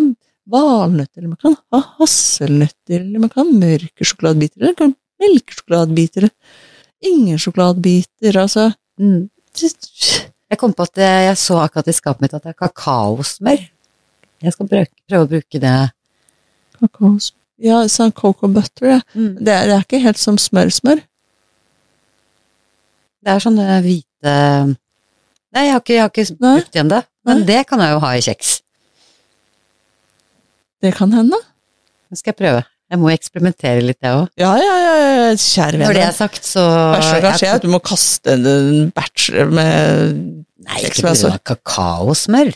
[SPEAKER 2] valnøtter, eller man kan ha hasselnøtter, eller man kan ha mørke sjokoladebiter, eller man kan ha melkesjokoladebiter, ingen sjokoladebiter, altså
[SPEAKER 1] Mm.
[SPEAKER 2] det-
[SPEAKER 1] Jeg kom på at eh, jeg så akkurat i skapet mitt at det er kakaosmør. Jeg skal brø- prøve å bruke det.
[SPEAKER 2] Kakaos Ja, sånn cocoa butter, ja.
[SPEAKER 1] Mm.
[SPEAKER 2] Det er, det er ikke helt som smør-smør.
[SPEAKER 1] Det er sånne hvite Nei, jeg har ikke, jeg har ikke
[SPEAKER 2] Nei.
[SPEAKER 1] brukt det ennå. Men
[SPEAKER 2] Nei.
[SPEAKER 1] det kan jeg jo ha i kjeks.
[SPEAKER 2] Det kan hende.
[SPEAKER 1] Det skal jeg prøve. Jeg må eksperimentere litt, jeg òg.
[SPEAKER 2] Ja, ja, ja, ja, kjære venn.
[SPEAKER 1] Når det er sagt, så
[SPEAKER 2] Verste som kan skje, er at Eh, du må kaste en- en bachelor med
[SPEAKER 1] Nei,
[SPEAKER 2] Kjeks
[SPEAKER 1] ikke
[SPEAKER 2] med altså.
[SPEAKER 1] pga. kakaosmør.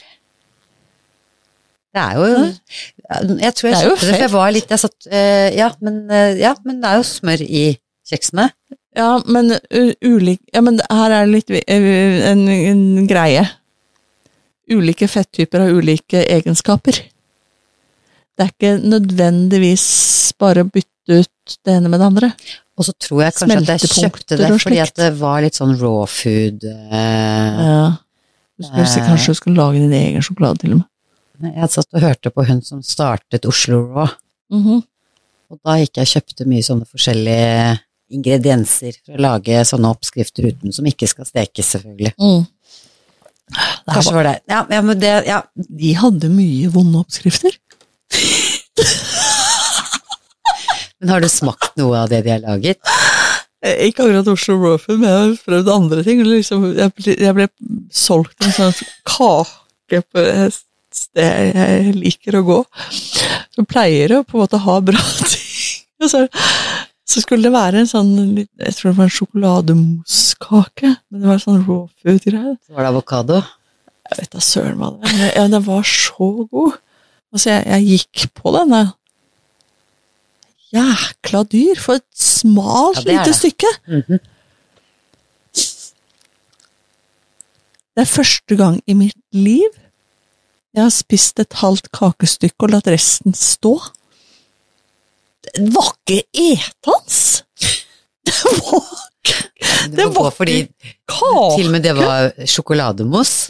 [SPEAKER 1] Det er jo Jeg tror jeg
[SPEAKER 2] Det er jo
[SPEAKER 1] skjønte det, for jeg var litt jeg satt, eh, ja, men, eh, ja, men det er jo smør i kjeksene.
[SPEAKER 2] Ja, men u- ulik Ja, men det- her er det litt vi- eh, en, en greie. Ulike fettyper har ulike egenskaper. Det er ikke nødvendigvis bare å bytte ut det ene med det andre.
[SPEAKER 1] Og så tror jeg kanskje at jeg kjøpte
[SPEAKER 2] Smeltepunkter
[SPEAKER 1] det
[SPEAKER 2] og
[SPEAKER 1] fordi
[SPEAKER 2] slikt.
[SPEAKER 1] at det var litt sånn raw food eh,
[SPEAKER 2] Ja. Du skulle si kanskje du skulle lage din egen sjokolade, til og med.
[SPEAKER 1] Jeg satt og hørte på hun som startet Oslo Raw.
[SPEAKER 2] Mm-hmm.
[SPEAKER 1] Og da gikk jeg og kjøpte mye sånne forskjellige ingredienser for å lage sånne oppskrifter uten, som ikke skal stekes, selvfølgelig.
[SPEAKER 2] mm. Det her
[SPEAKER 1] Kanskje
[SPEAKER 2] var,
[SPEAKER 1] var det Ja, ja men det ja.
[SPEAKER 2] de hadde mye vonde oppskrifter.
[SPEAKER 1] Men har du smakt noe av det de har laget?
[SPEAKER 2] Eh, Ikke akkurat Oslo Raw Food, men jeg har prøvd andre ting. og Liksom, jeg, ble, jeg ble solgt en sånn kake på et sted jeg liker å gå. Som pleier å på en måte ha bra (laughs) ting. Og så, så skulle det være en sånn litt- Jeg tror det var en sjokolademoskake. Men det var en sånn raw food-greie.
[SPEAKER 1] Så var det avokado.
[SPEAKER 2] Jeg vet da søren hva det var. men Ja, den var så god. Altså, jeg, jeg gikk på den. jeg. Jækla dyr for et smalt
[SPEAKER 1] Ja, det er
[SPEAKER 2] lite
[SPEAKER 1] det. Mhm.
[SPEAKER 2] stykke. Det er første gang i mitt liv jeg har spist et halvt kakestykke og latt resten stå. Det var ikke etans! Det var
[SPEAKER 1] Du
[SPEAKER 2] Det
[SPEAKER 1] må gå
[SPEAKER 2] var
[SPEAKER 1] fordi til og
[SPEAKER 2] kake!
[SPEAKER 1] med det var sjokolademos.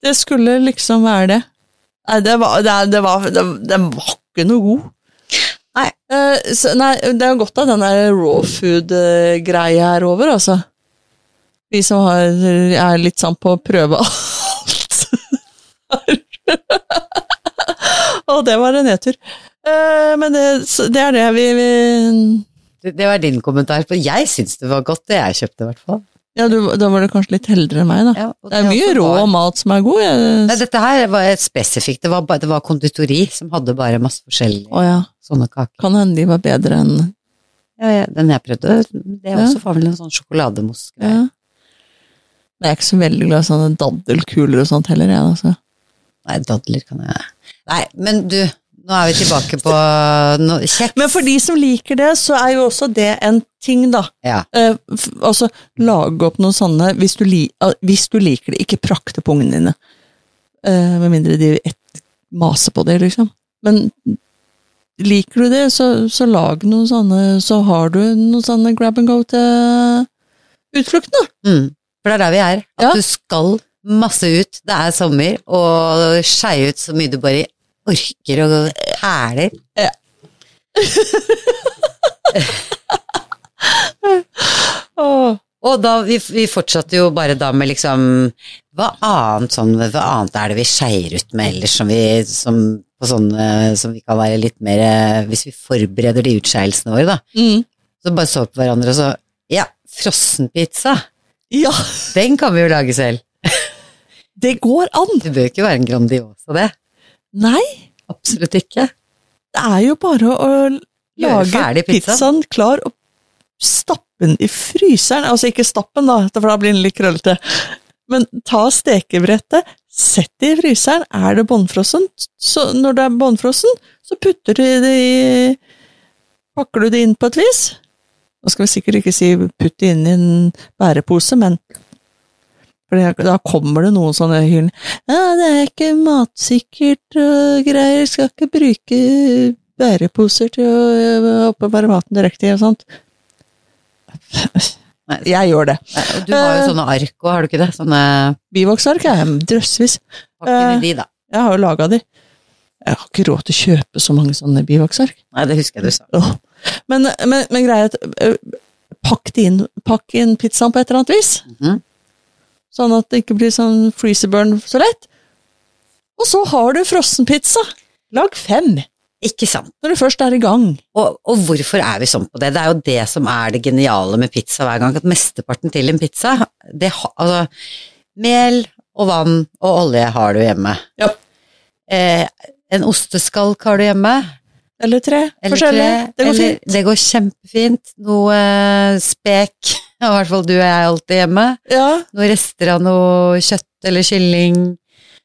[SPEAKER 2] Det skulle liksom være det. Nei, det var, det, det var, det, den var ikke noe god. Nei. så, nei, det er jo godt at den der raw food-greia er over, altså. Vi som har, er litt sånn på å prøve (laughs) alt. Og det var en nedtur. Eh, men det, så, det er det vi, vi
[SPEAKER 1] Det, det var din kommentar. For jeg syns det var godt, det jeg kjøpte i hvert fall.
[SPEAKER 2] Ja, du, da var du kanskje litt heldre enn meg, da.
[SPEAKER 1] Ja, og
[SPEAKER 2] Det er mye
[SPEAKER 1] også
[SPEAKER 2] rå
[SPEAKER 1] var-
[SPEAKER 2] mat som er god.
[SPEAKER 1] Nei,
[SPEAKER 2] Jeg...
[SPEAKER 1] dette her var et spesifikt. Det var, ba- det var konditori som hadde bare masse forskjellige
[SPEAKER 2] Å ja.
[SPEAKER 1] sånne kaker.
[SPEAKER 2] Kan hende de var bedre enn
[SPEAKER 1] Ja, ja, den jeg prøvde, det
[SPEAKER 2] Ja.
[SPEAKER 1] også var vel en sånn sjokolademousse.
[SPEAKER 2] ja. Nei, Jeg er ikke så veldig glad i sånne daddelkuler og sånt heller, jeg, altså.
[SPEAKER 1] Nei, dadler kan jeg Nei, men du, nå er vi tilbake på
[SPEAKER 2] (laughs)
[SPEAKER 1] noe kjekt.
[SPEAKER 2] Men for de som liker det, så er jo også det en ting, da.
[SPEAKER 1] Ja.
[SPEAKER 2] Eh, f- altså, lage opp noen sånne hvis du, li, eh, hvis du liker det. Ikke prakt det på ungene dine. Eh, med mindre de et, maser på det, liksom. Men liker du det, så, så lag noen sånne, så har du noen sånne grab and go til utflukten, da.
[SPEAKER 1] Mm. For det er der vi er. At
[SPEAKER 2] Ja.
[SPEAKER 1] du skal masse ut. Det er sommer, og skeie ut så mye du bare orker og hæler.
[SPEAKER 2] Åh.
[SPEAKER 1] Og da, vi, vi fortsatte jo bare da med liksom Hva annet, sånn, hva annet er det vi skeier ut med ellers som vi, som, på sånne, som vi kan være litt mer eh, Hvis vi forbereder de utskeielsene våre, da.
[SPEAKER 2] Mm.
[SPEAKER 1] Så bare så på hverandre og så Ja, frossenpizza!
[SPEAKER 2] Ja,
[SPEAKER 1] Den kan vi jo lage selv.
[SPEAKER 2] det går an!
[SPEAKER 1] Det bør ikke være en Grandiosa, det.
[SPEAKER 2] Nei,
[SPEAKER 1] Absolutt ikke.
[SPEAKER 2] det er jo bare å lage
[SPEAKER 1] ferdig pizzaen.
[SPEAKER 2] pizzaen klar og stappe den i fryseren. Altså ikke stappe den, da, for da blir den litt krøllete. Men ta stekebrettet, sett det i fryseren. Er det bånnfrossen, så når det er bånnfrossen, så putter du det i Pakker du det inn på et vis? Nå skal vi sikkert ikke si putt det inn i en bærepose, men for det- da kommer det noen sånne hyll. Ja, det er ikke matsikkert og greier, skal ikke bruke bæreposer til å ø, oppbevare maten direkte i og sånt.
[SPEAKER 1] Nei.
[SPEAKER 2] Jeg gjør det.
[SPEAKER 1] Nei, og Du har jo sånne ark òg, har du ikke det? Sånne
[SPEAKER 2] Bivoksark er jeg drøssevis.
[SPEAKER 1] pakker
[SPEAKER 2] Eh.
[SPEAKER 1] i de, da.
[SPEAKER 2] Jeg har jo laga de. Jeg har ikke råd til å kjøpe så mange sånne bivoksark.
[SPEAKER 1] Nei, det husker jeg du sa.
[SPEAKER 2] Åh. Men, men, men greia er at ø, pakk, det inn, pakk inn pizzaen på et eller annet vis.
[SPEAKER 1] Mhm.
[SPEAKER 2] Sånn at det ikke blir sånn freezerburn så lett. Og så har du frossenpizza. Lag fem
[SPEAKER 1] Ikke sant.
[SPEAKER 2] når du først er i gang.
[SPEAKER 1] Og, og hvorfor er vi sånn på det? Det er jo det som er det geniale med pizza hver gang, at mesteparten til en pizza, det ha, altså Mel og vann og olje har du hjemme.
[SPEAKER 2] Ja.
[SPEAKER 1] Eh, en osteskalk har du hjemme.
[SPEAKER 2] Eller tre
[SPEAKER 1] Eller
[SPEAKER 2] forskjellige.
[SPEAKER 1] tre,
[SPEAKER 2] det går
[SPEAKER 1] eller,
[SPEAKER 2] fint.
[SPEAKER 1] Det går kjempefint. Noe eh, spek, (laughs) i hvert fall du og jeg alltid hjemme.
[SPEAKER 2] Ja,
[SPEAKER 1] Noen rester av noe kjøtt eller kylling.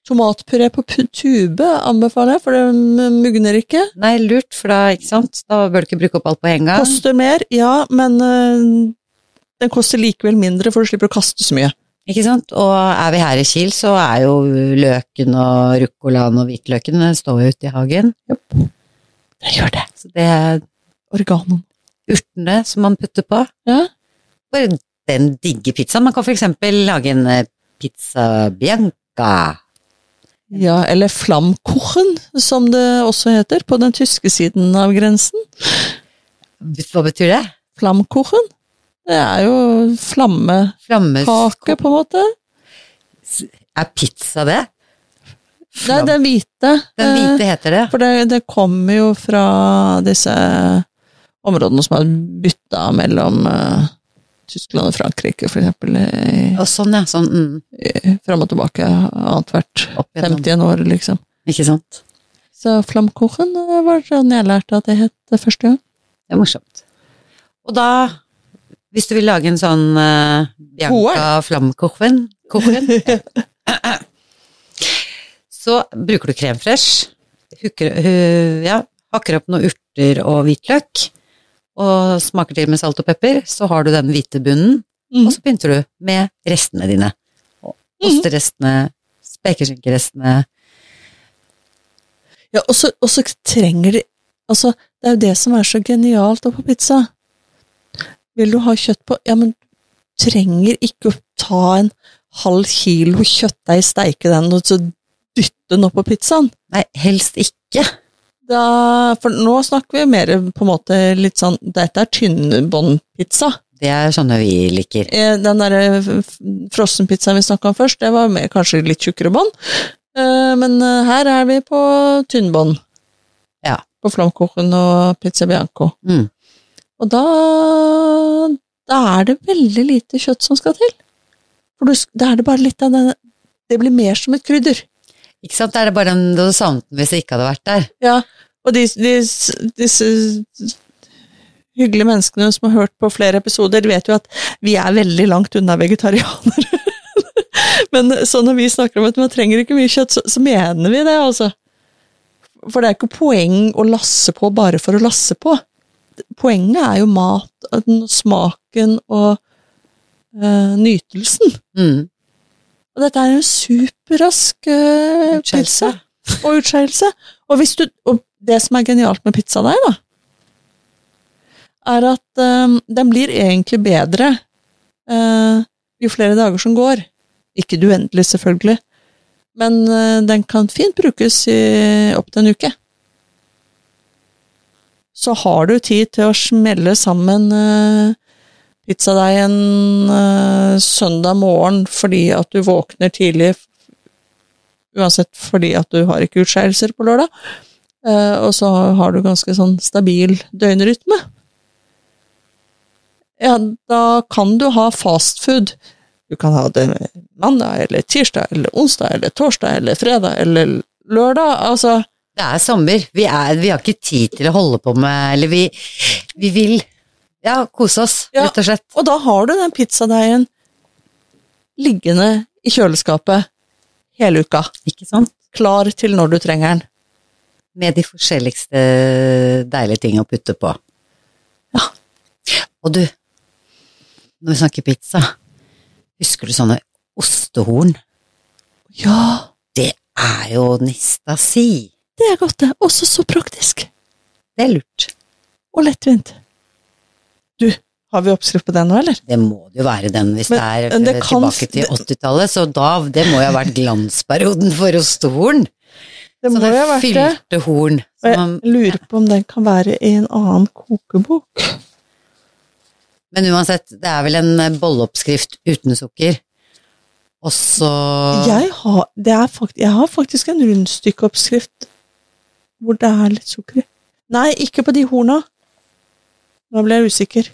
[SPEAKER 2] Tomatpuré på pu- tube anbefaler jeg, for det mugner ikke.
[SPEAKER 1] Nei, lurt, for da, ikke sant? Da bør du ikke bruke opp alt på en gang.
[SPEAKER 2] Koster mer, ja, men ø, den koster likevel mindre, for du slipper å kaste så mye.
[SPEAKER 1] Ikke sant? Og er vi her i Kiel, så er jo løken og ruccolaen og hvitløken den står jo ute i hagen.
[SPEAKER 2] Det gjør det.
[SPEAKER 1] Så det er
[SPEAKER 2] Organen.
[SPEAKER 1] urtene som man putter på.
[SPEAKER 2] Ja.
[SPEAKER 1] Bare den digge pizzaen. Man kan for eksempel lage en eh, pizza bianca.
[SPEAKER 2] Ja, eller flamkuchen, som det også heter, på den tyske siden av grensen.
[SPEAKER 1] Hva betyr det?
[SPEAKER 2] Flamkuchen. Det er jo flammekake,
[SPEAKER 1] Flammes...
[SPEAKER 2] på en måte.
[SPEAKER 1] Er pizza det?
[SPEAKER 2] Nei,
[SPEAKER 1] Flam-
[SPEAKER 2] den hvite.
[SPEAKER 1] Den hvite heter det.
[SPEAKER 2] Eh, For det, det kommer jo fra disse områdene som er bytta mellom eh, Tyskland og Frankrike, for eksempel. eh,
[SPEAKER 1] Og sånn, ja. Sånn, mm,
[SPEAKER 2] eh, Fram og tilbake annethvert
[SPEAKER 1] opp igjennom.
[SPEAKER 2] 51 år, liksom.
[SPEAKER 1] Ikke sant?
[SPEAKER 2] Så flamkuchen eh, var sånn jeg lærte at det het det første gang.
[SPEAKER 1] Det er morsomt. Og da, hvis du vil lage en sånn eh, Bianca Flamkochen,
[SPEAKER 2] (laughs)
[SPEAKER 1] kochen, så bruker du krem fresh, hukker, hu- ja, hakker opp noen urter og hvitløk, og smaker til med salt og pepper, så har du den hvite bunnen,
[SPEAKER 2] Mhm.
[SPEAKER 1] og så pynter du med restene dine. Osterestene, spekeskinkerestene,
[SPEAKER 2] Ja, og så, og så trenger de Altså, det er jo det som er så genialt da på pizza. Vil du ha kjøtt på Ja, men du trenger ikke å ta en halv kilo kjøttdeig, steike den, og så dytte den opp på pizzaen.
[SPEAKER 1] nei, helst ikke.
[SPEAKER 2] Da, for nå snakker vi mer på en måte litt sånn Dette er tynnbåndpizza.
[SPEAKER 1] Det er sånne vi liker.
[SPEAKER 2] Eh, Den derre f- f- frossenpizzaen vi snakka om først, det var med kanskje litt tjukkere bånd. Eh, Men eh, her er vi på tynnbånd.
[SPEAKER 1] Ja.
[SPEAKER 2] På flamkochen og pizza bianco.
[SPEAKER 1] Mm.
[SPEAKER 2] Og da, da er det veldig lite kjøtt som skal til. For du, sk- da er det bare litt av den Det blir mer som et krydder.
[SPEAKER 1] Ikke sant, det er det bare den du hadde savnet den hvis det ikke hadde vært der.
[SPEAKER 2] Ja, og de, de, s- disse s- hyggelige menneskene som har hørt på flere episoder, vet jo at vi er veldig langt unna vegetarianere. (laughs) Men så når vi snakker om at man trenger ikke mye kjøtt, så, så mener vi det, altså. For det er ikke poeng å lasse på bare for å lasse på. Poenget er jo mat, den- smaken og eh, nytelsen.
[SPEAKER 1] Mm.
[SPEAKER 2] Og dette er en superrask eh,
[SPEAKER 1] Utskeielse.
[SPEAKER 2] pizza og utskeielse. Og, hvis du, og det som er genialt med pizzaen her, da, er at eh, den blir egentlig bedre eh, jo flere dager som går. Ikke det uendelig, selvfølgelig, men eh, den kan fint brukes i opptil en uke. Så har du tid til å smelle sammen eh, pizzadeigen eh, søndag morgen fordi at du våkner tidlig uansett fordi at du har ikke utskeielser på lørdag. Eh, og så har du ganske sånn stabil døgnrytme. Ja, da kan du ha fastfood. Du kan ha det mandag eller tirsdag eller onsdag eller torsdag eller fredag eller lørdag. Altså,
[SPEAKER 1] Det er sommer. Vi, er, vi har ikke tid til å holde på med Eller vi, vi vil ja, kose oss,
[SPEAKER 2] Ja.
[SPEAKER 1] rett og slett.
[SPEAKER 2] og da har du den pizzadeigen liggende i kjøleskapet hele uka.
[SPEAKER 1] Ikke sant?
[SPEAKER 2] Klar til når du trenger den.
[SPEAKER 1] Med de forskjelligste deilige ting å putte på.
[SPEAKER 2] Ja.
[SPEAKER 1] Og du, når vi snakker pizza, husker du sånne ostehorn?
[SPEAKER 2] Ja,
[SPEAKER 1] Det er jo nistasi.
[SPEAKER 2] det er godt, det. Også så praktisk.
[SPEAKER 1] Det er lurt.
[SPEAKER 2] og lettvint. Du, har vi oppskrift på den nå, eller?
[SPEAKER 1] Det må det jo være den hvis
[SPEAKER 2] Men,
[SPEAKER 1] det er
[SPEAKER 2] men det
[SPEAKER 1] eh,
[SPEAKER 2] kan-
[SPEAKER 1] tilbake til 80-tallet, så da, det må jo ha vært glansperioden for ostehorn.
[SPEAKER 2] Det må
[SPEAKER 1] Sånne
[SPEAKER 2] jo ha vært det.
[SPEAKER 1] fylte horn.
[SPEAKER 2] Og
[SPEAKER 1] Som
[SPEAKER 2] jeg
[SPEAKER 1] man,
[SPEAKER 2] lurer på om den kan være i en annen kokebok.
[SPEAKER 1] men uansett, det er vel en eh, bolleoppskrift uten sukker. Og så
[SPEAKER 2] Jeg har, det er fakt, jeg har faktisk en rundstykkeoppskrift hvor det er litt sukker i. Nei, ikke på de horna. Nå ble jeg usikker.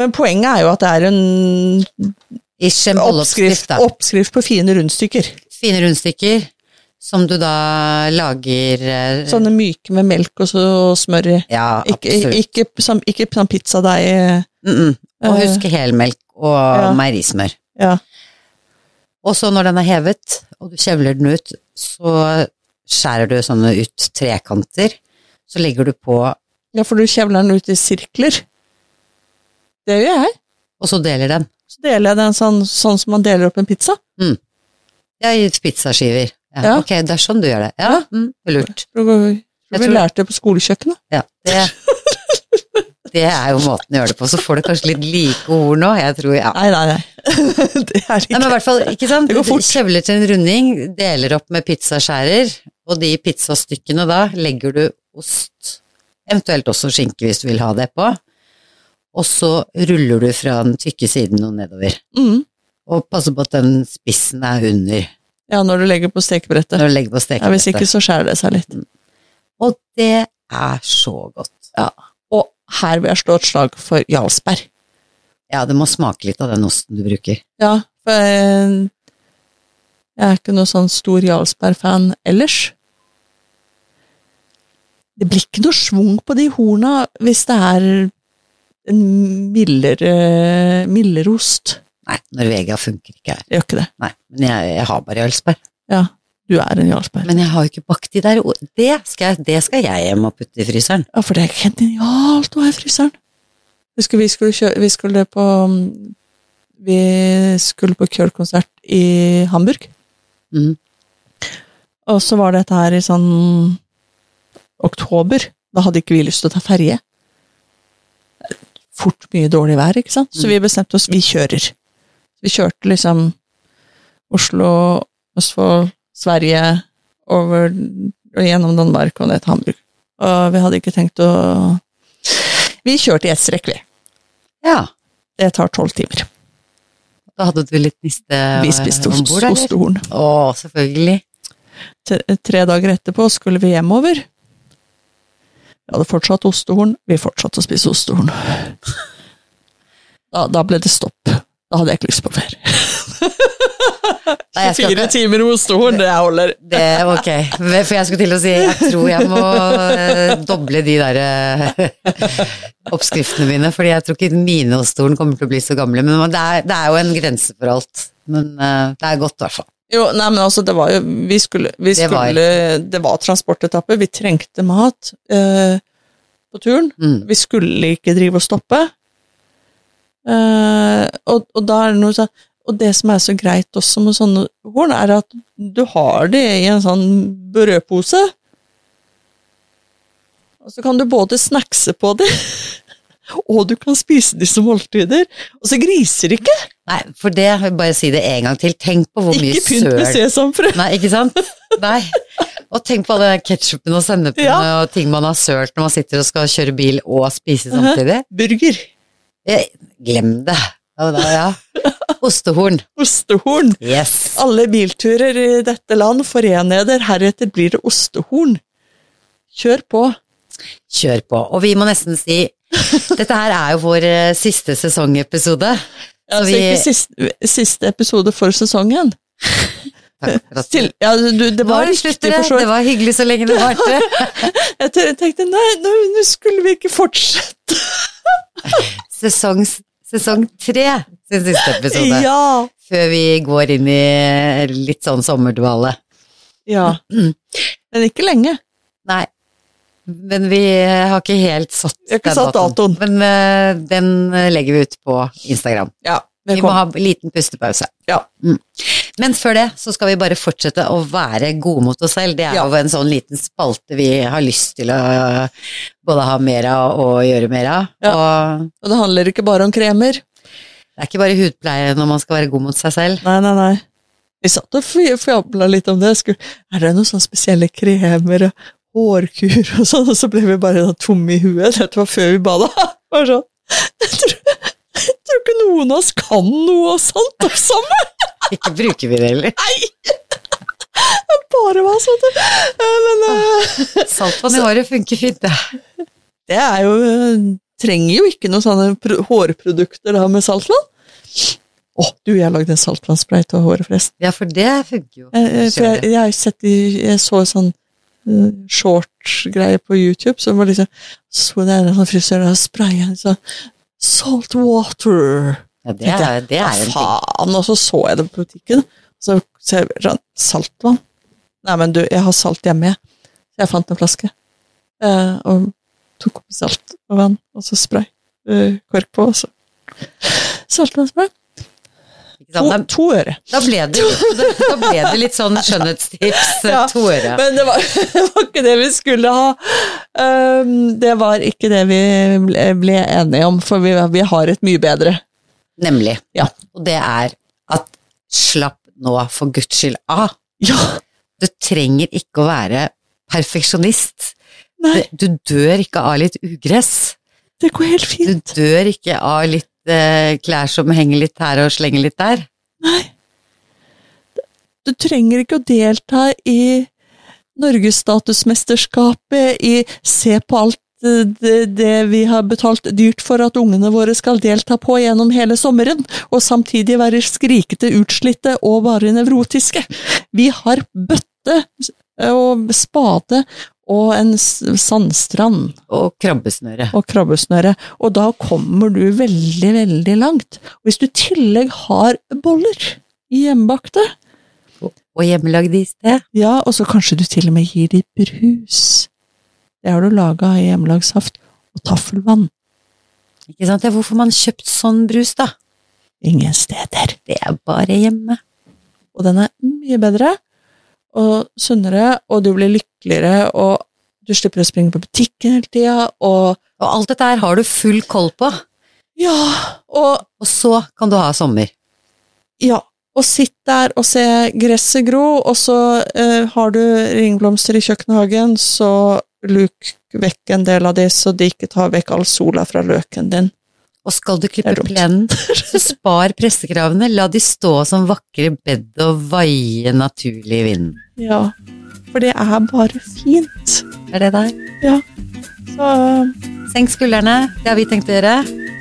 [SPEAKER 2] Men poenget er jo at det er en
[SPEAKER 1] Ikke en bolleoppskrift,
[SPEAKER 2] oppskrift,
[SPEAKER 1] da.
[SPEAKER 2] oppskrift på fine rundstykker.
[SPEAKER 1] Fine rundstykker som du da lager eh,
[SPEAKER 2] Sånne myke med melk og så smør i.
[SPEAKER 1] Ja,
[SPEAKER 2] Sånn, Ikke,
[SPEAKER 1] absolutt.
[SPEAKER 2] ikke, som- ikke sånn pizzadeig.
[SPEAKER 1] Mm -mm. Og
[SPEAKER 2] eh,
[SPEAKER 1] huske helmelk og
[SPEAKER 2] ja.
[SPEAKER 1] meierismør.
[SPEAKER 2] Ja.
[SPEAKER 1] Og så når den er hevet, og du kjevler den ut, så skjærer du sånne ut trekanter. Så legger du på,
[SPEAKER 2] Ja, for du kjevler den ut i sirkler. Det gjør jeg.
[SPEAKER 1] og så deler den.
[SPEAKER 2] Så deler jeg den sånn, sånn som man deler opp en pizza.
[SPEAKER 1] Ja, i pizzaskiver. Ja,
[SPEAKER 2] Ja.
[SPEAKER 1] Ok, det er sånn du gjør det. Ja,
[SPEAKER 2] Ja.
[SPEAKER 1] Mm, lurt.
[SPEAKER 2] Tror du- tror
[SPEAKER 1] Jeg
[SPEAKER 2] vi
[SPEAKER 1] tror-
[SPEAKER 2] lærte det på skolekjøkkenet.
[SPEAKER 1] Ja, det,
[SPEAKER 2] (laughs)
[SPEAKER 1] det er jo måten å gjøre det på. Så får du kanskje litt like ord nå. Jeg tror,
[SPEAKER 2] (laughs)
[SPEAKER 1] ja.
[SPEAKER 2] Nei, nei, nei. det er det
[SPEAKER 1] Nei,
[SPEAKER 2] ikke.
[SPEAKER 1] men i hvert fall, ikke sant?
[SPEAKER 2] Det går fort.
[SPEAKER 1] Du Kjevler til en runding, deler opp med pizzaskjærer, og de pizzastykkene da legger du ost, eventuelt også skinke hvis du vil ha det på, og så ruller du fra den tykke siden og nedover.
[SPEAKER 2] Mm.
[SPEAKER 1] Og passer på at den spissen er under
[SPEAKER 2] Ja, når du legger på stekebrettet.
[SPEAKER 1] når du legger på
[SPEAKER 2] Ja, hvis ikke,
[SPEAKER 1] stekebrettet.
[SPEAKER 2] så skjærer det seg litt.
[SPEAKER 1] Og det er så godt. Ja.
[SPEAKER 2] Og her vil jeg slå et slag for Jarlsberg.
[SPEAKER 1] Ja, det må smake litt av den osten du bruker.
[SPEAKER 2] Ja, for eh, jeg er ikke noe sånn stor Jarlsberg-fan ellers. Det blir ikke noe schwung på de horna hvis det er en mildere, mildere ost.
[SPEAKER 1] Nei, Norvegia funker ikke her.
[SPEAKER 2] Det gjør ikke det.
[SPEAKER 1] Nei, men jeg, jeg har bare Jarlsberg.
[SPEAKER 2] Ja, du er en Jarlsberg.
[SPEAKER 1] Men jeg har jo ikke bakt de der. og Det skal, jeg- det skal jeg hjem og putte i fryseren.
[SPEAKER 2] Ja, for det er helt genialt å ha i fryseren. Husker vi skulle, kjø vi skulle på mm, Vi skulle på Kjøl-konsert i Hamburg.
[SPEAKER 1] Mm.
[SPEAKER 2] Og så var dette her i sånn oktober. Da hadde ikke vi lyst til å ta ferje. Fort mye dårlig vær, ikke sant? Så
[SPEAKER 1] Mm.
[SPEAKER 2] vi bestemte oss, vi kjører. Vi kjørte liksom Oslo, Østfold, Sverige, over og gjennom Danmark og ned til Hamburg. Og vi hadde ikke tenkt å Vi kjørte i ett strekk, vi.
[SPEAKER 1] Ja,
[SPEAKER 2] Det tar tolv timer.
[SPEAKER 1] da hadde du litt niste
[SPEAKER 2] Vi spiste
[SPEAKER 1] om
[SPEAKER 2] ost,
[SPEAKER 1] bord, eller?
[SPEAKER 2] ostehorn.
[SPEAKER 1] Å, selvfølgelig.
[SPEAKER 2] tre tre dager etterpå skulle vi hjemover. Vi hadde fortsatt ostehorn. Vi fortsatte å spise ostehorn. Da, da ble det stopp. Da hadde jeg ikke lyst på flere.
[SPEAKER 1] Nei, jeg skal
[SPEAKER 2] 24
[SPEAKER 1] ikke-
[SPEAKER 2] timer hos stolen, det holder.
[SPEAKER 1] Det, ok, for jeg skulle til å si jeg tror jeg må eh, doble de der eh, oppskriftene mine, fordi jeg tror ikke mine og stolen kommer til å bli så gamle. Men det er, det er jo en grense for alt. Men eh, det er godt, i hvert fall.
[SPEAKER 2] Jo, nei, men altså, det var jo Vi skulle Vi
[SPEAKER 1] Det var-
[SPEAKER 2] skulle Det var transportetappe, vi trengte mat eh, på turen.
[SPEAKER 1] Mm.
[SPEAKER 2] Vi skulle ikke drive og stoppe. Eh, og, og da er det noe sånn Og det som er så greit også med sånne horn, er at du har det i en sånn brødpose. Og så kan du både snackse på det, (laughs) og du kan spise de som måltider. Og så griser ikke!
[SPEAKER 1] Nei, for det, jeg vil bare si det en gang til. Tenk på hvor mye
[SPEAKER 2] Ikke pynt med
[SPEAKER 1] søl
[SPEAKER 2] sesamfrø.
[SPEAKER 1] Nei, ikke sant? Nei. Og tenk på all den ketsjupen og sennepen
[SPEAKER 2] Ja. Mhm.
[SPEAKER 1] og ting man har sølt når man sitter og skal kjøre bil og spise samtidig.
[SPEAKER 2] Burger.
[SPEAKER 1] Eh, Glem det. Ja, da, ja. Ostehorn.
[SPEAKER 2] Ostehorn.
[SPEAKER 1] Yes.
[SPEAKER 2] Alle bilturer i dette land forener dere. Heretter blir det ostehorn. Kjør på.
[SPEAKER 1] Kjør på. Og vi må nesten si Dette her er jo vår eh, siste sesongepisode. Så
[SPEAKER 2] Altså,
[SPEAKER 1] vi
[SPEAKER 2] ikke siste, siste episode for sesongen.
[SPEAKER 1] Takk for at
[SPEAKER 2] Til, ja, du,
[SPEAKER 1] Nå
[SPEAKER 2] det var riktig,
[SPEAKER 1] slutter det.
[SPEAKER 2] for så
[SPEAKER 1] Det
[SPEAKER 2] vidt.
[SPEAKER 1] var hyggelig så lenge det varte.
[SPEAKER 2] Jeg te- tenkte nei, nå, nå skulle vi ikke fortsette.
[SPEAKER 1] Sesong, sesong tre sin siste episode.
[SPEAKER 2] Ja.
[SPEAKER 1] Før vi går inn i litt sånn sommerdvale.
[SPEAKER 2] ja. Men ikke lenge.
[SPEAKER 1] Nei. Men vi eh, har ikke helt satt
[SPEAKER 2] Vi har ikke
[SPEAKER 1] den
[SPEAKER 2] satt datoen.
[SPEAKER 1] Men eh, den eh, legger vi ut på Instagram.
[SPEAKER 2] Ja,
[SPEAKER 1] Vi må
[SPEAKER 2] velkommen.
[SPEAKER 1] ha en liten pustepause.
[SPEAKER 2] Ja.
[SPEAKER 1] Men før det så skal vi bare fortsette å være gode mot oss selv. Det er
[SPEAKER 2] Ja.
[SPEAKER 1] jo en sånn liten spalte vi har lyst til å øh, både ha mer av og gjøre mer av.
[SPEAKER 2] Ja.
[SPEAKER 1] Og
[SPEAKER 2] Og det handler ikke bare om kremer.
[SPEAKER 1] det er ikke bare hudpleie når man skal være god mot seg selv.
[SPEAKER 2] Nei, nei, nei. Vi satt og fj- fjabla litt om det. Skulle, er det noen sånne spesielle kremer og hårkur og sånn? Og så ble vi bare da tomme i huet. Dette var før vi (laughs) bada. Bare sånn. Jeg tror, jeg tror ikke noen av oss kan noe sånt om sammen.
[SPEAKER 1] Ikke bruker vi det
[SPEAKER 2] (laughs)
[SPEAKER 1] heller.
[SPEAKER 2] Bare hva sånt. Eh, Men eh,
[SPEAKER 1] Saltvann i håret funker fint, det.
[SPEAKER 2] det er jo eh, Trenger jo ikke noen sånne pro- hårprodukter da med saltvann. Å, du, jeg lagde en saltvannspray til håret, forresten.
[SPEAKER 1] Ja, for det funker jo.
[SPEAKER 2] Eh, eh, For jeg,
[SPEAKER 1] Kjører.
[SPEAKER 2] jeg, har sett de, jeg så sånn eh, short-greie på YouTube, som var liksom Så det er en sånn frisør der spraya en sånn Salt water!
[SPEAKER 1] Ja, det er, det er en ting.
[SPEAKER 2] Faen! Og så så jeg det på butikken. Så ser jeg sånn Saltvann? Nei, men du, jeg har salt hjemme, jeg. Så jeg fant en flaske. Eh, og tok oppi salt og vann, og så spray. Eh, kork på, og så Saltvannspray.
[SPEAKER 1] Ikke
[SPEAKER 2] To,
[SPEAKER 1] sant?
[SPEAKER 2] to øre.
[SPEAKER 1] Da, da, ble det,
[SPEAKER 2] (laughs)
[SPEAKER 1] da ble det litt sånn skjønnhetstips, eh,
[SPEAKER 2] Ja,
[SPEAKER 1] Tore.
[SPEAKER 2] Men det var, (laughs) det var ikke det vi skulle ha. Ehm, det var ikke det vi ble, ble enige om, for vi, vi har et mye bedre.
[SPEAKER 1] Nemlig.
[SPEAKER 2] Ja.
[SPEAKER 1] Og det er at slapp nå for guds skyld av.
[SPEAKER 2] Ja,
[SPEAKER 1] Du trenger ikke å være perfeksjonist.
[SPEAKER 2] Nei.
[SPEAKER 1] Du dør ikke av litt ugress.
[SPEAKER 2] det går helt
[SPEAKER 1] Du
[SPEAKER 2] fint.
[SPEAKER 1] dør ikke av litt eh, klær som henger litt her og slenger litt der.
[SPEAKER 2] Du trenger ikke å delta i Norgesstatusmesterskapet, i se på alt eh, det, det vi har betalt dyrt for at ungene våre skal delta på gjennom hele sommeren, og samtidig være skrikete, utslitte og bare nevrotiske. Vi har bøtte eh, og spade og en s- sandstrand
[SPEAKER 1] Og krabbesnøre.
[SPEAKER 2] og krabbesnøre, og da kommer du veldig, veldig langt. Hvis du i tillegg har boller i hjemmebakte,
[SPEAKER 1] Og hjemmelagd is, det.
[SPEAKER 2] ja, og så kanskje du til og med gir de brus. Det har du laga i hjemmelagssaft og taffelvann.
[SPEAKER 1] Ikke sant? Ja, hvorfor man kjøpt sånn brus, da?
[SPEAKER 2] Ingen steder.
[SPEAKER 1] Det er bare hjemme.
[SPEAKER 2] Og den er mye bedre og sunnere, og du blir lykkeligere, og du slipper å springe på butikken hele tida, og
[SPEAKER 1] Og alt dette her har du full koll på.
[SPEAKER 2] ja, og
[SPEAKER 1] Og så kan du ha sommer.
[SPEAKER 2] Ja, og sitt der og se gresset gro, og så eh, har du ringblomster i kjøkkenhagen, så luk vekk en del av de, så de ikke tar vekk all sola fra løken din.
[SPEAKER 1] Og skal du klippe
[SPEAKER 2] Det er dumt.
[SPEAKER 1] plenen, så spar pressekravene. La de stå som vakre bed og vaie naturlig i vinden.
[SPEAKER 2] Ja, for det er bare fint.
[SPEAKER 1] Er det der?
[SPEAKER 2] Ja. Så
[SPEAKER 1] Senk skuldrene, det har vi tenkt å gjøre.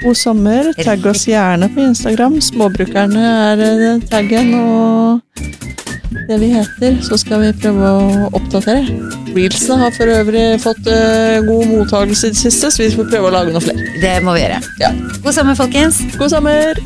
[SPEAKER 2] God sommer. Tagg oss gjerne på Instagram. Småbrukerne er eh, taggen og det vi heter. Så skal vi prøve å oppdatere. Reelsene har for øvrig fått eh, god mottakelse i det siste, så vi får prøve å lage noen flere.
[SPEAKER 1] Det må vi gjøre.
[SPEAKER 2] Ja.
[SPEAKER 1] God sommer, folkens.
[SPEAKER 2] God sommer!